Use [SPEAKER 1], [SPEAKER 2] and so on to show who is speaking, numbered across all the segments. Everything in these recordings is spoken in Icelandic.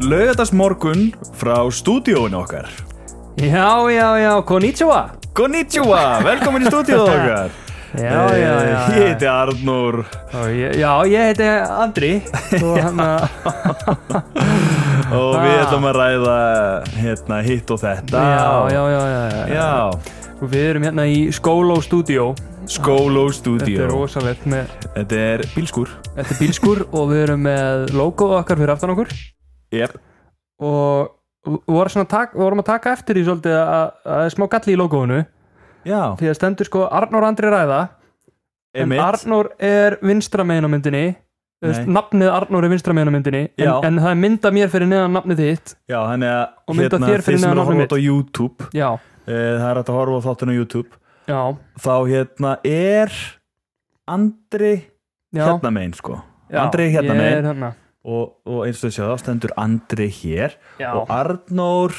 [SPEAKER 1] Laugatast morgun frá stúdíóinu okkar
[SPEAKER 2] Já, já, já, konnichiwa
[SPEAKER 1] Konnichiwa, velkomin í stúdíóinu okkar
[SPEAKER 2] Já, já, já, já.
[SPEAKER 1] Eh, Ég heiti Arnur
[SPEAKER 2] Og ég- Já, ég heiti Andri og hérna- hann að
[SPEAKER 1] og við ætlum að ræða hérna hitt og þetta
[SPEAKER 2] Já, já, já, já, já.
[SPEAKER 1] Já,
[SPEAKER 2] Og Við erum hérna í skóla og stúdíó
[SPEAKER 1] Skólo
[SPEAKER 2] Þetta er
[SPEAKER 1] stúdíó
[SPEAKER 2] rosalegt með,
[SPEAKER 1] Þetta er bílskur
[SPEAKER 2] Þetta er bílskur og við erum með logoð okkar fyrir aftan okkur
[SPEAKER 1] yep.
[SPEAKER 2] og við vorum, svona að taka, við vorum að taka eftir í svolítið að, að það er smá galli í logoinu
[SPEAKER 1] Já,
[SPEAKER 2] því að stendur sko Arnór Andri ræða en
[SPEAKER 1] emitt
[SPEAKER 2] Arnór er vinstra megin á myndinni Þú veist,
[SPEAKER 1] Nei.
[SPEAKER 2] nafnið Arnór er vinstra megin á myndinni en,
[SPEAKER 1] Já.
[SPEAKER 2] en það er mynda mér fyrir neðan nafnið þitt
[SPEAKER 1] Já, þannig
[SPEAKER 2] Og
[SPEAKER 1] að hérna,
[SPEAKER 2] mynda þér fyrir
[SPEAKER 1] þið sem eru
[SPEAKER 2] neðan
[SPEAKER 1] að
[SPEAKER 2] nafnið
[SPEAKER 1] horfa út á YouTube
[SPEAKER 2] já,
[SPEAKER 1] eh, Það er hægt að horfa á þáttinu á YouTube
[SPEAKER 2] já,
[SPEAKER 1] Þá hérna er Andri
[SPEAKER 2] já,
[SPEAKER 1] hérna megin sko
[SPEAKER 2] já
[SPEAKER 1] Andri hérna
[SPEAKER 2] ég
[SPEAKER 1] megin
[SPEAKER 2] er hérna.
[SPEAKER 1] og, og eins og þið sjá þá stendur Andri hér
[SPEAKER 2] Já.
[SPEAKER 1] og Arnór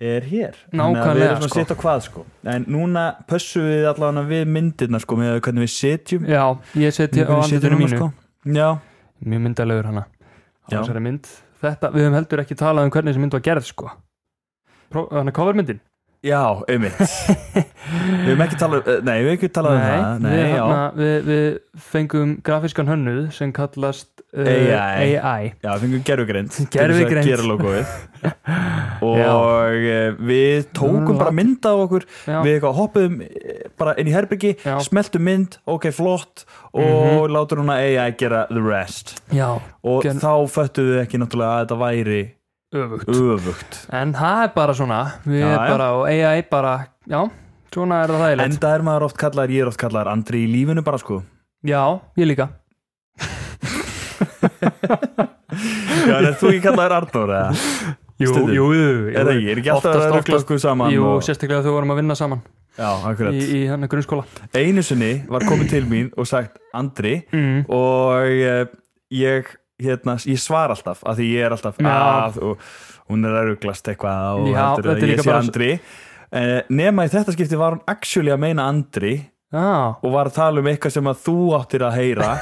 [SPEAKER 1] er hér Þannig að við
[SPEAKER 2] Nákvæmlega,
[SPEAKER 1] erum svona
[SPEAKER 2] sko.
[SPEAKER 1] sitt á hvað sko en núna pössum við allavega við myndirna sko með hvernig við sitjum
[SPEAKER 2] já, ég
[SPEAKER 1] Hvernig við
[SPEAKER 2] setja á andlutinu
[SPEAKER 1] sitjum núna,
[SPEAKER 2] mínu
[SPEAKER 1] sko. já,
[SPEAKER 2] mjög myndalegur hana á
[SPEAKER 1] Já.
[SPEAKER 2] þessari mynd þetta, við höfum heldur ekki talað um hvernig þessi mynd var gerð sko Pró- þannig að covermyndin
[SPEAKER 1] já, einmitt við höfum ekki talað nei, við höfum ekki talað um það nei,
[SPEAKER 2] við,
[SPEAKER 1] já,
[SPEAKER 2] hérna- við, við fengum grafískan hönnuð sem kallast uh,
[SPEAKER 1] AI.
[SPEAKER 2] AI.
[SPEAKER 1] já, fengum gerfugreind
[SPEAKER 2] Gervigreind.
[SPEAKER 1] gera logoið og eh, við
[SPEAKER 2] Nú,
[SPEAKER 1] tókum bara mynd af okkur
[SPEAKER 2] Já.
[SPEAKER 1] við eitthvað hoppuðum eh, bara inn í herbyggi
[SPEAKER 2] Já. Mhm.
[SPEAKER 1] smeltum mynd, ok flott og látur hún að AI gera the rest
[SPEAKER 2] já,
[SPEAKER 1] og
[SPEAKER 2] Gen-
[SPEAKER 1] þá föttuðu við ekki náttúrulega að þetta væri
[SPEAKER 2] öfugt
[SPEAKER 1] öfugt
[SPEAKER 2] En það er bara svona Við
[SPEAKER 1] Já,
[SPEAKER 2] erum
[SPEAKER 1] já.
[SPEAKER 2] bara og AI bara Já, svona er það
[SPEAKER 1] en
[SPEAKER 2] þægilegt
[SPEAKER 1] það er maður oft kallar, ég er oft kallar Andri í lífinu bara sko
[SPEAKER 2] Já, ég líka
[SPEAKER 1] Já, en er þú ekki kallar Arnór eða? Stundum.
[SPEAKER 2] jú,
[SPEAKER 1] Er það ekki, er ekki alltaf
[SPEAKER 2] Oftast,
[SPEAKER 1] að ruggla
[SPEAKER 2] oftast.
[SPEAKER 1] okkur saman
[SPEAKER 2] Jú,
[SPEAKER 1] og...
[SPEAKER 2] sérstaklega þegar við vorum að vinna saman
[SPEAKER 1] Já, akkurat
[SPEAKER 2] Í, í hennar grunnskóla
[SPEAKER 1] Einu sinni var komið til mín og sagt Andri
[SPEAKER 2] mm.
[SPEAKER 1] og eh, ég hérna, ég svar alltaf af því ég er alltaf
[SPEAKER 2] Já.
[SPEAKER 1] að og hún er að rugglast eitthvað og
[SPEAKER 2] Já,
[SPEAKER 1] heldur
[SPEAKER 2] þetta
[SPEAKER 1] að
[SPEAKER 2] er
[SPEAKER 1] ég
[SPEAKER 2] líka
[SPEAKER 1] sé
[SPEAKER 2] bara-
[SPEAKER 1] Andri eh, nema í þetta skipti var hún actually að meina Andri
[SPEAKER 2] Já,
[SPEAKER 1] og var að tala um eitthvað sem að þú áttir að heyra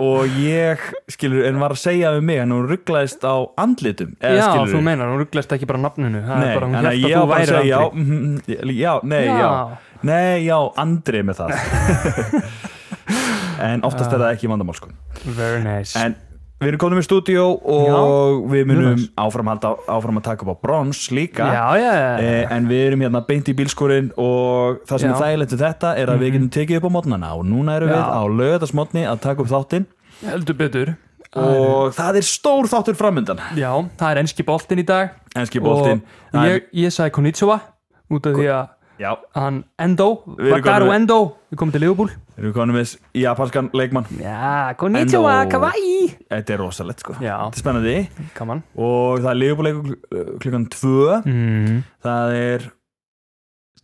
[SPEAKER 1] og ég skilur, en var að segja við mig en hún rugglaðist á andlitum eða
[SPEAKER 2] já
[SPEAKER 1] skilur
[SPEAKER 2] þú meinar, hún rugglast ekki bara nafninu Það
[SPEAKER 1] Nei,
[SPEAKER 2] er bara hún
[SPEAKER 1] en
[SPEAKER 2] held að
[SPEAKER 1] ég á bara
[SPEAKER 2] þú
[SPEAKER 1] að
[SPEAKER 2] væri
[SPEAKER 1] segja, já, mhm, mhm, já, nei, já. Nei, já, Andri með það En oftast er það ekki vandamál sko
[SPEAKER 2] Very nice
[SPEAKER 1] En við erum komin í stúdíó og við
[SPEAKER 2] mjög
[SPEAKER 1] munum
[SPEAKER 2] næs.
[SPEAKER 1] áfram, halda, áfram að taka upp á brons líka
[SPEAKER 2] Já, já, já
[SPEAKER 1] Eh, En við erum hérna beint í bílskurinn og það sem
[SPEAKER 2] Já. Mhm.
[SPEAKER 1] er þægilegt við þetta er að við getum tekið upp á mótnana og núna erum við
[SPEAKER 2] Já.
[SPEAKER 1] á lögðasmótni að taka upp þáttinn
[SPEAKER 2] Heldur betur
[SPEAKER 1] og það er stór þáttur framöndan
[SPEAKER 2] Já, það er enski boltinn í dag
[SPEAKER 1] Enski boltinn
[SPEAKER 2] Og
[SPEAKER 1] Það er-
[SPEAKER 2] ég, ég sagði konnichiwa Út af því að
[SPEAKER 1] Já,
[SPEAKER 2] hann Endo
[SPEAKER 1] Við erum
[SPEAKER 2] Wataru
[SPEAKER 1] komin-
[SPEAKER 2] Endo Við komum til Liverpool
[SPEAKER 1] erum við konum með japanskan leikmann
[SPEAKER 2] Já, konnichiwa,
[SPEAKER 1] Endo.
[SPEAKER 2] kawaii
[SPEAKER 1] Þetta er rosalegt sko
[SPEAKER 2] Já.
[SPEAKER 1] Þetta er spennandi
[SPEAKER 2] Kaman
[SPEAKER 1] og það er leifbúleikur eh, klukkan 2
[SPEAKER 2] mm.
[SPEAKER 1] það er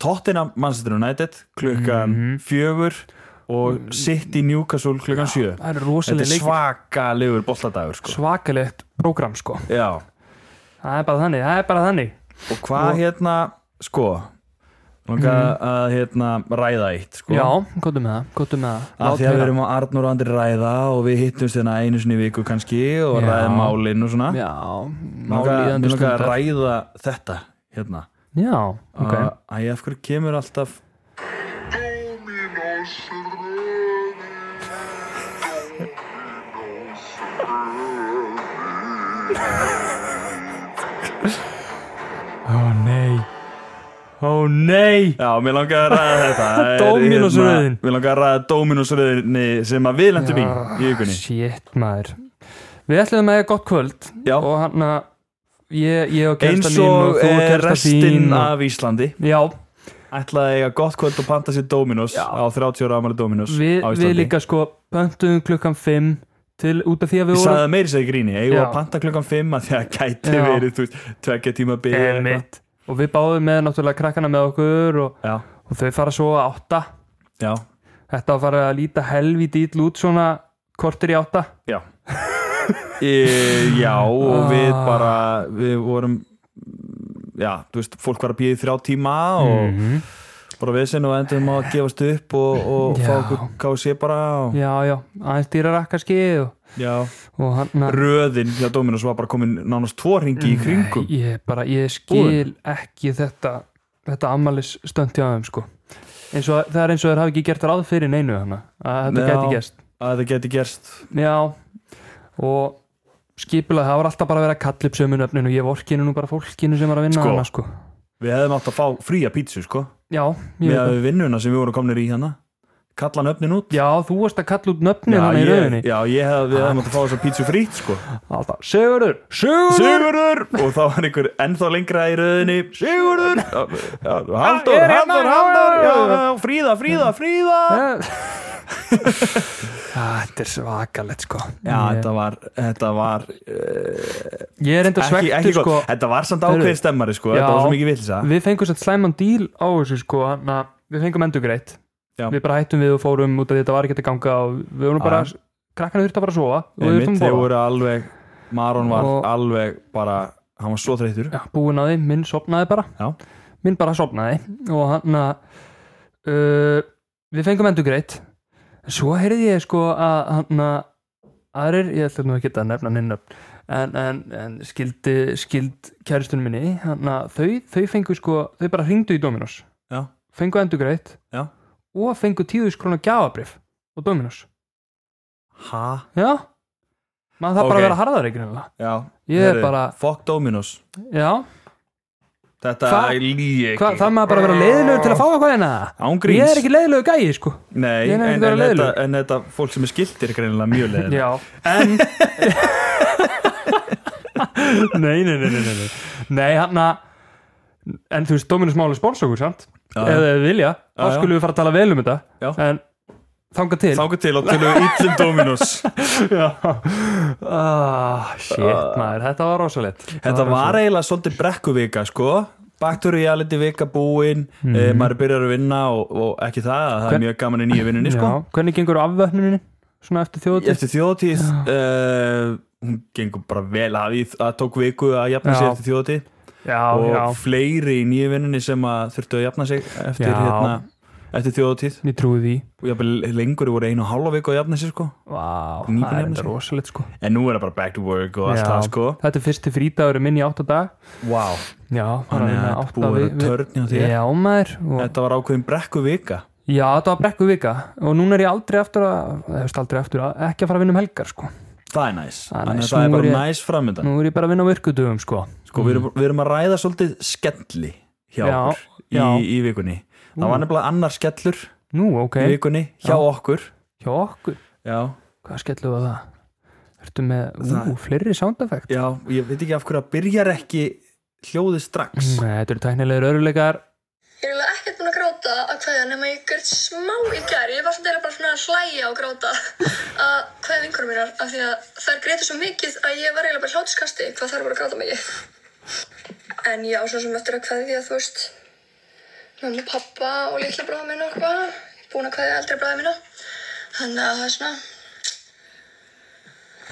[SPEAKER 1] Tottenham Manchester United klukkan
[SPEAKER 2] Mhm.
[SPEAKER 1] fjögur og City Newcastle klukkan sjö
[SPEAKER 2] Það er
[SPEAKER 1] þetta er
[SPEAKER 2] rosalega leik
[SPEAKER 1] svakalegur bolladagur sko.
[SPEAKER 2] Svakalegt prógram sko
[SPEAKER 1] Já.
[SPEAKER 2] Það er bara þannig, það er bara þannig
[SPEAKER 1] og hvað
[SPEAKER 2] Og- Mhm.
[SPEAKER 1] hérna sko langa að hérna ræða eitt sko
[SPEAKER 2] Já, gottum með það, gottum með það
[SPEAKER 1] að
[SPEAKER 2] Lát
[SPEAKER 1] því að við
[SPEAKER 2] heyra.
[SPEAKER 1] erum á Arnur og Andri ræða og við hittumst hérna einu sinni í viku kannski og
[SPEAKER 2] Já.
[SPEAKER 1] ræðum málinn og svona
[SPEAKER 2] Já,
[SPEAKER 1] Mig langar- mig
[SPEAKER 2] málíðandi
[SPEAKER 1] langar að
[SPEAKER 2] stundar
[SPEAKER 1] ræða þetta hérna
[SPEAKER 2] Já, ok
[SPEAKER 1] okay. að ég af hverju kemur alltaf
[SPEAKER 3] Dominos Röðin Dominos Röðin
[SPEAKER 2] Ó nei Ó nei
[SPEAKER 1] Já, mér langar að ræða þetta Það er,
[SPEAKER 2] Dóminusröðin.
[SPEAKER 1] hérna, Mér langar að ræða Dóminusröðin sem að við lendum í í vikunni
[SPEAKER 2] Shit maður Við ætlum að eiga gott kvöld
[SPEAKER 1] Já.
[SPEAKER 2] Og hann að Ég, ég og
[SPEAKER 1] Eins
[SPEAKER 2] kerstan þín og
[SPEAKER 1] og
[SPEAKER 2] þú og
[SPEAKER 1] eh,
[SPEAKER 2] kerstan
[SPEAKER 1] restin
[SPEAKER 2] þín og...
[SPEAKER 1] af Íslandi
[SPEAKER 2] Já,
[SPEAKER 1] ætlaði að eiga gott kvöld og panta sér Dóminus
[SPEAKER 2] Já.
[SPEAKER 1] á 30 ára amali Dóminus
[SPEAKER 2] við,
[SPEAKER 1] á
[SPEAKER 2] við
[SPEAKER 1] Íslandi
[SPEAKER 2] líka sko Pöntum klukkan 5 til, út af því að
[SPEAKER 1] Ég
[SPEAKER 2] við
[SPEAKER 1] sagði það meiri segir gríni, eigum við
[SPEAKER 2] Já.
[SPEAKER 1] að panta klukkan 5 að því að gæti
[SPEAKER 2] Já.
[SPEAKER 1] verið, þú veist, tvekja tíma byrja
[SPEAKER 2] Einmitt. og við báðum með náttúrulega krakkana með okkur og,
[SPEAKER 1] Já,
[SPEAKER 2] og þau fara svo að átta
[SPEAKER 1] já,
[SPEAKER 2] þetta var að fara að líta helvi dýtl út svona kortir í átta
[SPEAKER 1] já e, Já, og við
[SPEAKER 2] Ah.
[SPEAKER 1] bara, við vorum, já, þú veist, fólk var að býða í þrjá tíma og
[SPEAKER 2] -hmm.
[SPEAKER 1] bara vesen og endum á að gefast upp og, og
[SPEAKER 2] Já.
[SPEAKER 1] fá okkur KC bara og,
[SPEAKER 2] já, já, aðeins dýrar kannski og,
[SPEAKER 1] já.
[SPEAKER 2] og hann að
[SPEAKER 1] röðin hjá Dominus var bara komin nánast tvo ringi í kringum
[SPEAKER 2] ég, bara, ég skil ekki þetta þetta amalis stönd hjá þeim sko eins og, það er eins og þeir hafi ekki gert ráð fyrir neinu hana, að
[SPEAKER 1] Já.
[SPEAKER 2] þetta gæti gerst
[SPEAKER 1] að það geti gerst
[SPEAKER 2] já, og skipulega það var alltaf bara að vera að kalla upp sömu nöfnin og ég vorkinu nú bara fólkinu sem var að vinna
[SPEAKER 1] Sko.
[SPEAKER 2] hana sko
[SPEAKER 1] við hefðum átt að fá fría pítsu sko
[SPEAKER 2] já, ég
[SPEAKER 1] með
[SPEAKER 2] veit
[SPEAKER 1] að við vinnuna sem við vorum komnir í hana kalla hann öfnin út
[SPEAKER 2] Já, þú varst að kalla út nöfnin hann í
[SPEAKER 1] ég,
[SPEAKER 2] rauninni
[SPEAKER 1] já, ég hef, við
[SPEAKER 2] Ah.
[SPEAKER 1] hefðum átt að fá þess að pítsu frýtt sko
[SPEAKER 2] Alltaf, Sigurður, Sigurður
[SPEAKER 1] Sigurður og þá var einhver ennþá lengra í röðinni Sigurður Já, já, Halldór,
[SPEAKER 2] Er hérna,
[SPEAKER 1] Halldór,
[SPEAKER 2] já,
[SPEAKER 1] Halldór já,
[SPEAKER 2] já, já.
[SPEAKER 1] já, Fríða, Fríða, Fríða
[SPEAKER 2] Ah, Þetta er svakalett sko
[SPEAKER 1] Já,
[SPEAKER 2] ég,
[SPEAKER 1] þetta var, þetta var eh,
[SPEAKER 2] ég er enda
[SPEAKER 1] ekki,
[SPEAKER 2] svektur
[SPEAKER 1] ekki gott,
[SPEAKER 2] sko
[SPEAKER 1] þetta var samt
[SPEAKER 2] Heyrðu.
[SPEAKER 1] ákveðin stemmari sko, þetta
[SPEAKER 2] Já.
[SPEAKER 1] var svo mikið villisa
[SPEAKER 2] Við fengum satt slæman díl á þessu sko na, Við fengum endur greitt
[SPEAKER 1] Já.
[SPEAKER 2] Við bara hættum við og fórum út af því þetta var ekki að ganga og við vorum bara,
[SPEAKER 1] Já.
[SPEAKER 2] krakkana þurfti að bara að sofa og við
[SPEAKER 1] Einmitt,
[SPEAKER 2] þurftum
[SPEAKER 1] þeir
[SPEAKER 2] að borða
[SPEAKER 1] voru alveg Maron var
[SPEAKER 2] Og-
[SPEAKER 1] alveg bara hann var svo þreytur
[SPEAKER 2] Já, Búin að því, minn sopnaði bara
[SPEAKER 1] Já.
[SPEAKER 2] Minn bara sopnaði og hann að uh, Við fengum endur greitt Svo heyrði ég sko að hann að aðrir, ég ætla nú ekki að nefna hann nöfn en, en, en skildi skild kæristun minni hann að þau, þau fengu sko, þau bara hringdu í Dominos
[SPEAKER 1] Já.
[SPEAKER 2] fengu endurgreitt
[SPEAKER 1] Já.
[SPEAKER 2] og fengu tíðus krónu gjafabrif og Dominos
[SPEAKER 1] ha?
[SPEAKER 2] já, maður þarf bara
[SPEAKER 1] Ok.
[SPEAKER 2] að vera harðar ekki nefnilega
[SPEAKER 1] Já,
[SPEAKER 2] Ég er bara-
[SPEAKER 1] fuck Dominos
[SPEAKER 2] já,
[SPEAKER 1] þetta
[SPEAKER 2] Hva-
[SPEAKER 1] er lígi
[SPEAKER 2] Hva, það maður bara að vera leiðilegur til að fá eitthvað hérna
[SPEAKER 1] ángríns
[SPEAKER 2] ég er ekki leiðilegur gæi sko
[SPEAKER 1] Nei,
[SPEAKER 2] ég er
[SPEAKER 1] en, en,
[SPEAKER 2] ekki að vera
[SPEAKER 1] þetta,
[SPEAKER 2] leiðilegur.
[SPEAKER 1] en þetta fólk sem er skiltir er greinilega mjög leiðileg
[SPEAKER 2] já, en nei, nei, nei, nei, nei, nei. nei hann að en þú veist, Dominos máli spórsókur, sant?
[SPEAKER 1] Já, já.
[SPEAKER 2] ef þið vilja, þá
[SPEAKER 1] Já, já.
[SPEAKER 2] skulum við fara að tala vel um þetta
[SPEAKER 1] Já.
[SPEAKER 2] en þanga til
[SPEAKER 1] Þángu til og til við ítlum Dominos
[SPEAKER 2] Já. ah, shit, maður, þetta var rosalegt
[SPEAKER 1] Þetta var eiginlega svolítið brekkuvika sko Back to reality vika búin eh, maður er byrjar að vinna og, og ekki það það er
[SPEAKER 2] Hvern-
[SPEAKER 1] mjög gaman í nýju vinnunni sko
[SPEAKER 2] Já, hvernig gengur afvöfnuninni svona eftir þjóðatíð
[SPEAKER 1] eftir þjóðatíð uh, hún gengur bara vel að því að tók viku að jafna sig
[SPEAKER 2] Já.
[SPEAKER 1] eftir þjóðatíð
[SPEAKER 2] já,
[SPEAKER 1] og
[SPEAKER 2] já,
[SPEAKER 1] fleiri í nýju vinninni sem að þurftu að jafna sig eftir,
[SPEAKER 2] Já.
[SPEAKER 1] hérna, eftir þjóðatíð
[SPEAKER 2] ég trúi því
[SPEAKER 1] og jafnvel lengur voru einu og hálfa viku að jafna sig sko.
[SPEAKER 2] Vá,
[SPEAKER 1] Nýbúin
[SPEAKER 2] það er
[SPEAKER 1] jafna
[SPEAKER 2] enda
[SPEAKER 1] sig.
[SPEAKER 2] rosalegt sko
[SPEAKER 1] en nú er það bara back to work og allt
[SPEAKER 2] Já.
[SPEAKER 1] það sko.
[SPEAKER 2] Þetta er fyrsti frídagur minn í átta dag
[SPEAKER 1] wow.
[SPEAKER 2] Já, bara
[SPEAKER 1] Þannig að
[SPEAKER 2] vinna
[SPEAKER 1] þetta
[SPEAKER 2] átta
[SPEAKER 1] búið
[SPEAKER 2] vi-
[SPEAKER 1] að
[SPEAKER 2] vi-
[SPEAKER 1] törn hjá þér
[SPEAKER 2] Já, maður og,
[SPEAKER 1] þetta var ákveðin brekku vika
[SPEAKER 2] Já, þetta var brekku vika og núna er ég aldrei eftir að hefst aldrei eftir að ekki að fara að vinna um helgar sko
[SPEAKER 1] það er næs,
[SPEAKER 2] Það er
[SPEAKER 1] Þannig
[SPEAKER 2] næs.
[SPEAKER 1] að það er
[SPEAKER 2] Nú er
[SPEAKER 1] bara
[SPEAKER 2] ég-
[SPEAKER 1] næs framöndan
[SPEAKER 2] Nú er ég bara að vinna á virkudöfum sko
[SPEAKER 1] sko, við, erum, við erum að ræða svolítið skelli hjá
[SPEAKER 2] Já,
[SPEAKER 1] okkur í,
[SPEAKER 2] já.
[SPEAKER 1] í vikunni það var nefnilega annar skellur
[SPEAKER 2] Nú, ok,
[SPEAKER 1] í vikunni hjá
[SPEAKER 2] Já.
[SPEAKER 1] okkur
[SPEAKER 2] hjá okkur
[SPEAKER 1] já,
[SPEAKER 2] Hvað skellum við á það? Ertu með, ú,
[SPEAKER 1] Það-
[SPEAKER 2] fleiri sound effect?
[SPEAKER 1] já, ég veit ekki af hverju að byrjar ekki hljóðið strax
[SPEAKER 2] Nei, þetta eru tæknilegir öruleikar
[SPEAKER 4] Ég er eiginlega ekkert búin að gráta að kveðja nema ég gert smá í gær. Ég var svona eiginlega bara svona að hlæja og gráta að kveðja vingurum mínar af því að þær grétu svo mikið að ég var eiginlega bara í hlátuskasti hvað þær voru að gráta mikið. En já, svo sem eftir að kveðja, þú veist, mamma og pappa og litla bráða minna og eitthvað. Búin að kveðja eldri bráða minna. Þannig að það er svona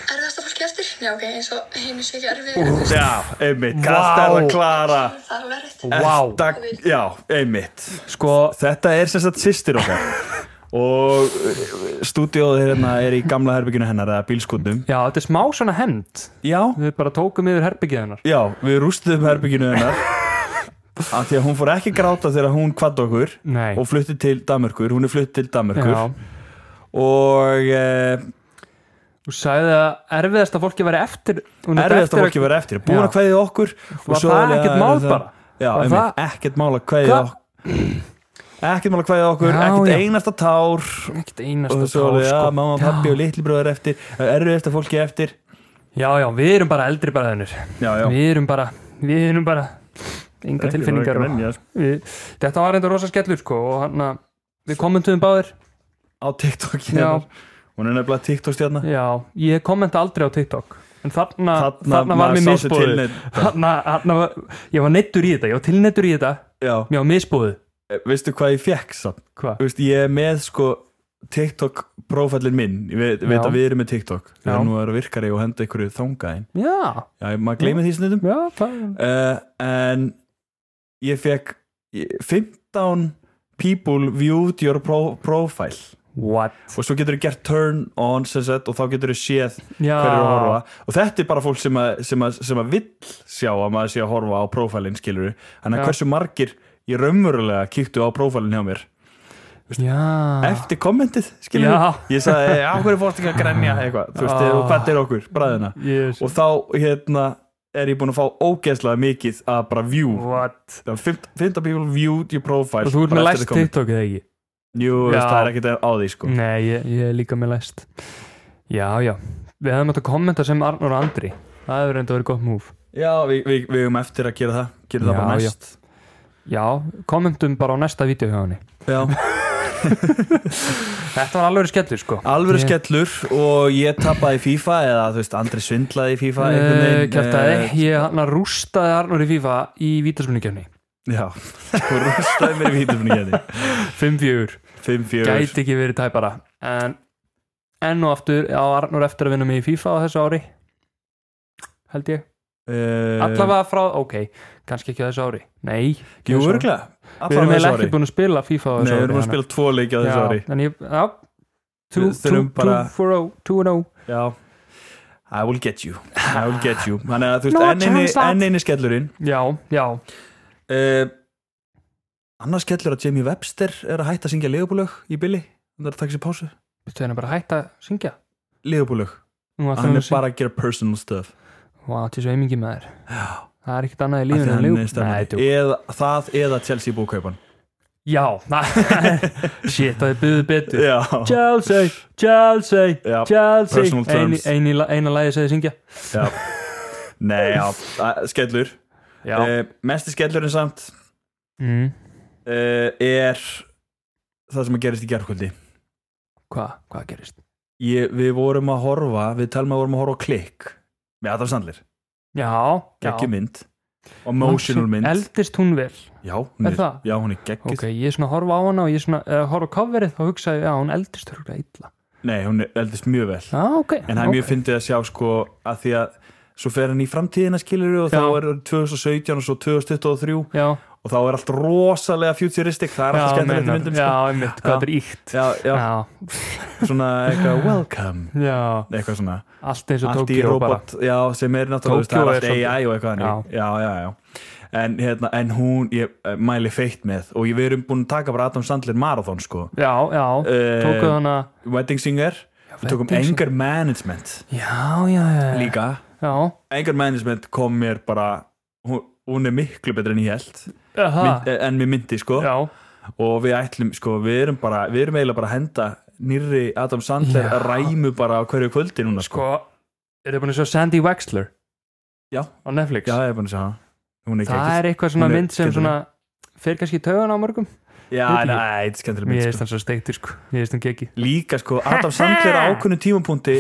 [SPEAKER 4] erfiðasta fólki eftir. Já, ok, eins og hinn sé ekki erfið.
[SPEAKER 1] já, einmitt,
[SPEAKER 2] Vá.
[SPEAKER 1] Kastella Klara
[SPEAKER 4] Það er alveg erfitt.
[SPEAKER 2] Vá.
[SPEAKER 1] Efta, já, einmitt
[SPEAKER 2] Sko,
[SPEAKER 1] þetta er sem sagt sýstir okkar og stúdíóð hérna er í gamla herbygginu hennar eða bílskotnum
[SPEAKER 2] Já, þetta er smá svona hend
[SPEAKER 1] já,
[SPEAKER 2] Við bara tókum yfir herbyggið hennar
[SPEAKER 1] já, við rústum herbygginu hennar af því að hún fór ekki að gráta þegar hún kvadd okkur
[SPEAKER 2] Nei
[SPEAKER 1] og flutti til Danmörkur, hún er flutt til Danmörkur
[SPEAKER 2] Já,
[SPEAKER 1] og eh,
[SPEAKER 2] þú sagði að erfiðasta fólki væri eftir hún átti
[SPEAKER 1] erfiðast
[SPEAKER 2] eftir
[SPEAKER 1] að fólki vera eftir búin
[SPEAKER 2] Já.
[SPEAKER 1] að kveðið okkur
[SPEAKER 2] Var það ekkert mál bara?
[SPEAKER 1] já,
[SPEAKER 2] Var
[SPEAKER 1] einmitt,
[SPEAKER 2] það-
[SPEAKER 1] ekkert mál að kveðið
[SPEAKER 2] Hva-
[SPEAKER 1] okkur ekkert mál að kveðið okkur
[SPEAKER 2] Já,
[SPEAKER 1] ekkert
[SPEAKER 2] já.
[SPEAKER 1] einasta tár
[SPEAKER 2] Ekkert
[SPEAKER 1] og
[SPEAKER 2] einasta
[SPEAKER 1] svo
[SPEAKER 2] tár
[SPEAKER 1] alveg,
[SPEAKER 2] sko
[SPEAKER 1] já, mamma, pappi og litli bróður eftir erfiðast að fólki eftir
[SPEAKER 2] Já, já, við erum bara eldri bræðinir
[SPEAKER 1] já, já
[SPEAKER 2] Við erum bara, við erum bara Enga tilfinningar og- við, Þetta sko, var enda rosa skellur sko og hann að við kommentum báðir
[SPEAKER 1] á TikTok
[SPEAKER 2] Já.
[SPEAKER 1] hennar Hún er nefnilega TikTok-stjarna
[SPEAKER 2] já, ég kommenta aldrei á TikTok en þarna,
[SPEAKER 1] Þarna
[SPEAKER 2] þarna, var
[SPEAKER 1] maður
[SPEAKER 2] mér
[SPEAKER 1] sá sig
[SPEAKER 2] misbúið
[SPEAKER 1] tilneyddur.
[SPEAKER 2] þarna, þarna var, ég var neittur í þetta ég var tilneittur í þetta,
[SPEAKER 1] Já, Eh,
[SPEAKER 2] mér var misbúið
[SPEAKER 1] veistu hvað ég fekk samt?
[SPEAKER 2] hvað?
[SPEAKER 1] Þú veist, ég er með sko TikTok prófællin minn Ég veit, veit
[SPEAKER 2] Já.
[SPEAKER 1] að við erum með TikTok Við
[SPEAKER 2] Já.
[SPEAKER 1] erum nú að vera virkari og henda ykkur þangaðin
[SPEAKER 2] já,
[SPEAKER 1] Já, ég- maður gleymið því snundum
[SPEAKER 2] já, það
[SPEAKER 1] uh, En ég fekk ég- 15 people viewed your pro profile
[SPEAKER 2] what?
[SPEAKER 1] og svo getur þú gert turn on sem sagt, og þá getur þú séð
[SPEAKER 2] Já,
[SPEAKER 1] hverju er að horfa og þetta er bara fólk sem að, sem að, sem að vill sjá að maður sé að horfa á prófælinn skilur þannig
[SPEAKER 2] Já.
[SPEAKER 1] að hversu margir ég raunverulega kíktu á prófælinn hjá mér
[SPEAKER 2] já
[SPEAKER 1] eftir kommentið skilur
[SPEAKER 2] Ah. Já.
[SPEAKER 1] ég sagði, á hverju fórst ekki að grenja eitthvað, þú veist, eh,
[SPEAKER 2] Ah.
[SPEAKER 1] og hvað er okkur, bræðina
[SPEAKER 2] yes.
[SPEAKER 1] og þá, hérna, er ég búin að fá ógeðslega mikið að bara view
[SPEAKER 2] what?
[SPEAKER 1] það var 15 people viewed your profile
[SPEAKER 2] og þú ert
[SPEAKER 1] bara
[SPEAKER 2] með
[SPEAKER 1] eftir
[SPEAKER 2] læst
[SPEAKER 1] þetta komment.
[SPEAKER 2] TikTok eða ekki?
[SPEAKER 1] Jú,
[SPEAKER 2] Já. Mm.
[SPEAKER 1] veist, það er ekkert á því sko
[SPEAKER 2] Nei, ég, ég er líka með læst já, já, við hefðum átt að kommenta sem Arnur og Andri það hefur reynda verið gott múf
[SPEAKER 1] Já, við, við, við höfum eftir að gera það gera það
[SPEAKER 2] Já,
[SPEAKER 1] bara
[SPEAKER 2] já.
[SPEAKER 1] næst
[SPEAKER 2] já, kommentum bara á næsta vídeo hjá henni
[SPEAKER 1] já.
[SPEAKER 2] þetta var alveg skellur sko
[SPEAKER 1] Alvöru
[SPEAKER 2] Ég-
[SPEAKER 1] skellur og ég tapaði í FIFA eða þú veist, Andri svindlaði í
[SPEAKER 2] Eh,
[SPEAKER 1] FIFA einhvern veginn,
[SPEAKER 2] Kjartaði,
[SPEAKER 1] eh,
[SPEAKER 2] ég hann að rústaði Arnur í FIFA í vítaspunningjöfni
[SPEAKER 1] Já, þú rústaði mér í vítumfninginni
[SPEAKER 2] 5-4,
[SPEAKER 1] 5-4
[SPEAKER 2] gæti ekki verið tæpara en enn og aftur á Arnur eftir að vinna mig í FIFA á þessu ári held ég,
[SPEAKER 1] Eh,
[SPEAKER 2] allavega frá ok, kannski ekki á þessu ári nei, ekki
[SPEAKER 1] Jú,
[SPEAKER 2] á þessu ári.
[SPEAKER 1] örgulega
[SPEAKER 2] við erum eiginlega ekki búin að spila FIFA á
[SPEAKER 1] Nei,
[SPEAKER 2] þessu ári
[SPEAKER 1] við erum að spila tvo leiki á þessu ári
[SPEAKER 2] já, en ég, já
[SPEAKER 1] Við þurfum bara-
[SPEAKER 2] 2-4-0, 2-0
[SPEAKER 1] Já I will get you I will get you Þannig að þú
[SPEAKER 2] No
[SPEAKER 1] veist, enn eini,
[SPEAKER 2] chance, lad.
[SPEAKER 1] enn eini skellurinn
[SPEAKER 2] já, já,
[SPEAKER 1] uh, Annars skellur að Jamie Webster er að hætta að syngja legubúlög í billi Hann er að taka sér pásu
[SPEAKER 2] við þurfum hérna bara að hætta að syngja
[SPEAKER 1] Legubúlög
[SPEAKER 2] Nú, ætlar
[SPEAKER 1] Hann
[SPEAKER 2] að
[SPEAKER 1] er bara að gera personal stuff
[SPEAKER 2] Vá, til svo eimingi með þér
[SPEAKER 1] Já
[SPEAKER 2] Það er ekkert annað í
[SPEAKER 1] Af því
[SPEAKER 2] lífinu en
[SPEAKER 1] hann er
[SPEAKER 2] ljúk
[SPEAKER 1] stemmari.
[SPEAKER 2] djók.
[SPEAKER 1] Eða- Það eða Chelsea búkaupan
[SPEAKER 2] Já, na- shit, það er byggðu betur
[SPEAKER 1] Já
[SPEAKER 2] Chelsea, Chelsea,
[SPEAKER 1] Já,
[SPEAKER 2] Chelsea
[SPEAKER 1] personal
[SPEAKER 2] Einu-
[SPEAKER 1] terms.
[SPEAKER 2] einu la- Eina lagi segði syngja
[SPEAKER 1] Já Nei, já, að- skellur
[SPEAKER 2] Já
[SPEAKER 1] uh, Mesti skellurinn samt
[SPEAKER 2] mm,
[SPEAKER 1] uh, er það sem að gerist í gerðkvöldi
[SPEAKER 2] Hvað, hvað gerist?
[SPEAKER 1] ég, við vorum að horfa, við telma vorum að horfa á klikk með Adam Sandler,
[SPEAKER 2] Já, já
[SPEAKER 1] ekki mynd emotional mynd,
[SPEAKER 2] Eldist hún vel
[SPEAKER 1] já, hún
[SPEAKER 2] Er
[SPEAKER 1] er,
[SPEAKER 2] það?
[SPEAKER 1] já, hún er geggis,
[SPEAKER 2] Ok, ég er svona að horfa á hana og ég er svona að horfa á coverið og hugsa, já, hún eldist hörgla illa
[SPEAKER 1] nei, hún er eldist mjög vel
[SPEAKER 2] Já, ok
[SPEAKER 1] en það er mjög fyndið að sjá sko að því að svo fer hann í framtíðina skilur og
[SPEAKER 2] Já.
[SPEAKER 1] þá er 2017 og svo 2023
[SPEAKER 2] Já,
[SPEAKER 1] og þá er allt rosalega futuristic, það er alltaf
[SPEAKER 2] já,
[SPEAKER 1] skemmtilegt í
[SPEAKER 2] meinar.
[SPEAKER 1] myndum
[SPEAKER 2] Já,
[SPEAKER 1] sko.
[SPEAKER 2] einmitt, hvað
[SPEAKER 1] Já.
[SPEAKER 2] þetta er íkt
[SPEAKER 1] já, já,
[SPEAKER 2] Já,
[SPEAKER 1] svona eitthvað welcome
[SPEAKER 2] já,
[SPEAKER 1] eitthvað svona
[SPEAKER 2] allt eins og
[SPEAKER 1] allt í
[SPEAKER 2] Tokyo bara
[SPEAKER 1] robot, já, sem er náttúrulega það
[SPEAKER 2] Tokyo er
[SPEAKER 1] er allt
[SPEAKER 2] svolítið-
[SPEAKER 1] AI og eitthvað þannig. já, já, já, en, hérna, en hún ég, eh, mæli feitt með og ég, við erum búin að taka bara Adam Sandler Marathon sko.
[SPEAKER 2] Já, já,
[SPEAKER 1] Eh,
[SPEAKER 2] tókuð hana
[SPEAKER 1] Wedding Singer við tókum
[SPEAKER 2] Wedding Singer. Eh.
[SPEAKER 1] Anger Management
[SPEAKER 2] Já, já, já, já.
[SPEAKER 1] líka,
[SPEAKER 2] já.
[SPEAKER 1] Anger Management kom mér bara, hún, hún er miklu betur en ég held
[SPEAKER 2] Aha,
[SPEAKER 1] mynd, eh, en mér myndi sko
[SPEAKER 2] já,
[SPEAKER 1] og við ætlum, sko, við erum bara við erum eiginlega bara að henda nýrri Adam Sandler
[SPEAKER 2] Já.
[SPEAKER 1] ræmu bara á hverju kvöldi núna
[SPEAKER 2] sko Er þið búin að sjá Sandy Wexler
[SPEAKER 1] Já.
[SPEAKER 2] Á Netflix
[SPEAKER 1] já, ég er búin að segja hana Hún er
[SPEAKER 2] Sko, Það er eitthvað svona
[SPEAKER 1] Hún er
[SPEAKER 2] mynd sem
[SPEAKER 1] skemmtileg.
[SPEAKER 2] svona Fer kannski í taugan á mörgum
[SPEAKER 1] ekki Já,
[SPEAKER 2] Veit ekki.
[SPEAKER 1] nei, þetta er skemmtileg mynd
[SPEAKER 2] Mér
[SPEAKER 1] sko.
[SPEAKER 2] veist hann svo steiktur sko Mér veist hann gekki
[SPEAKER 1] líka sko, Adam Sandler á ákunnum tímapunkti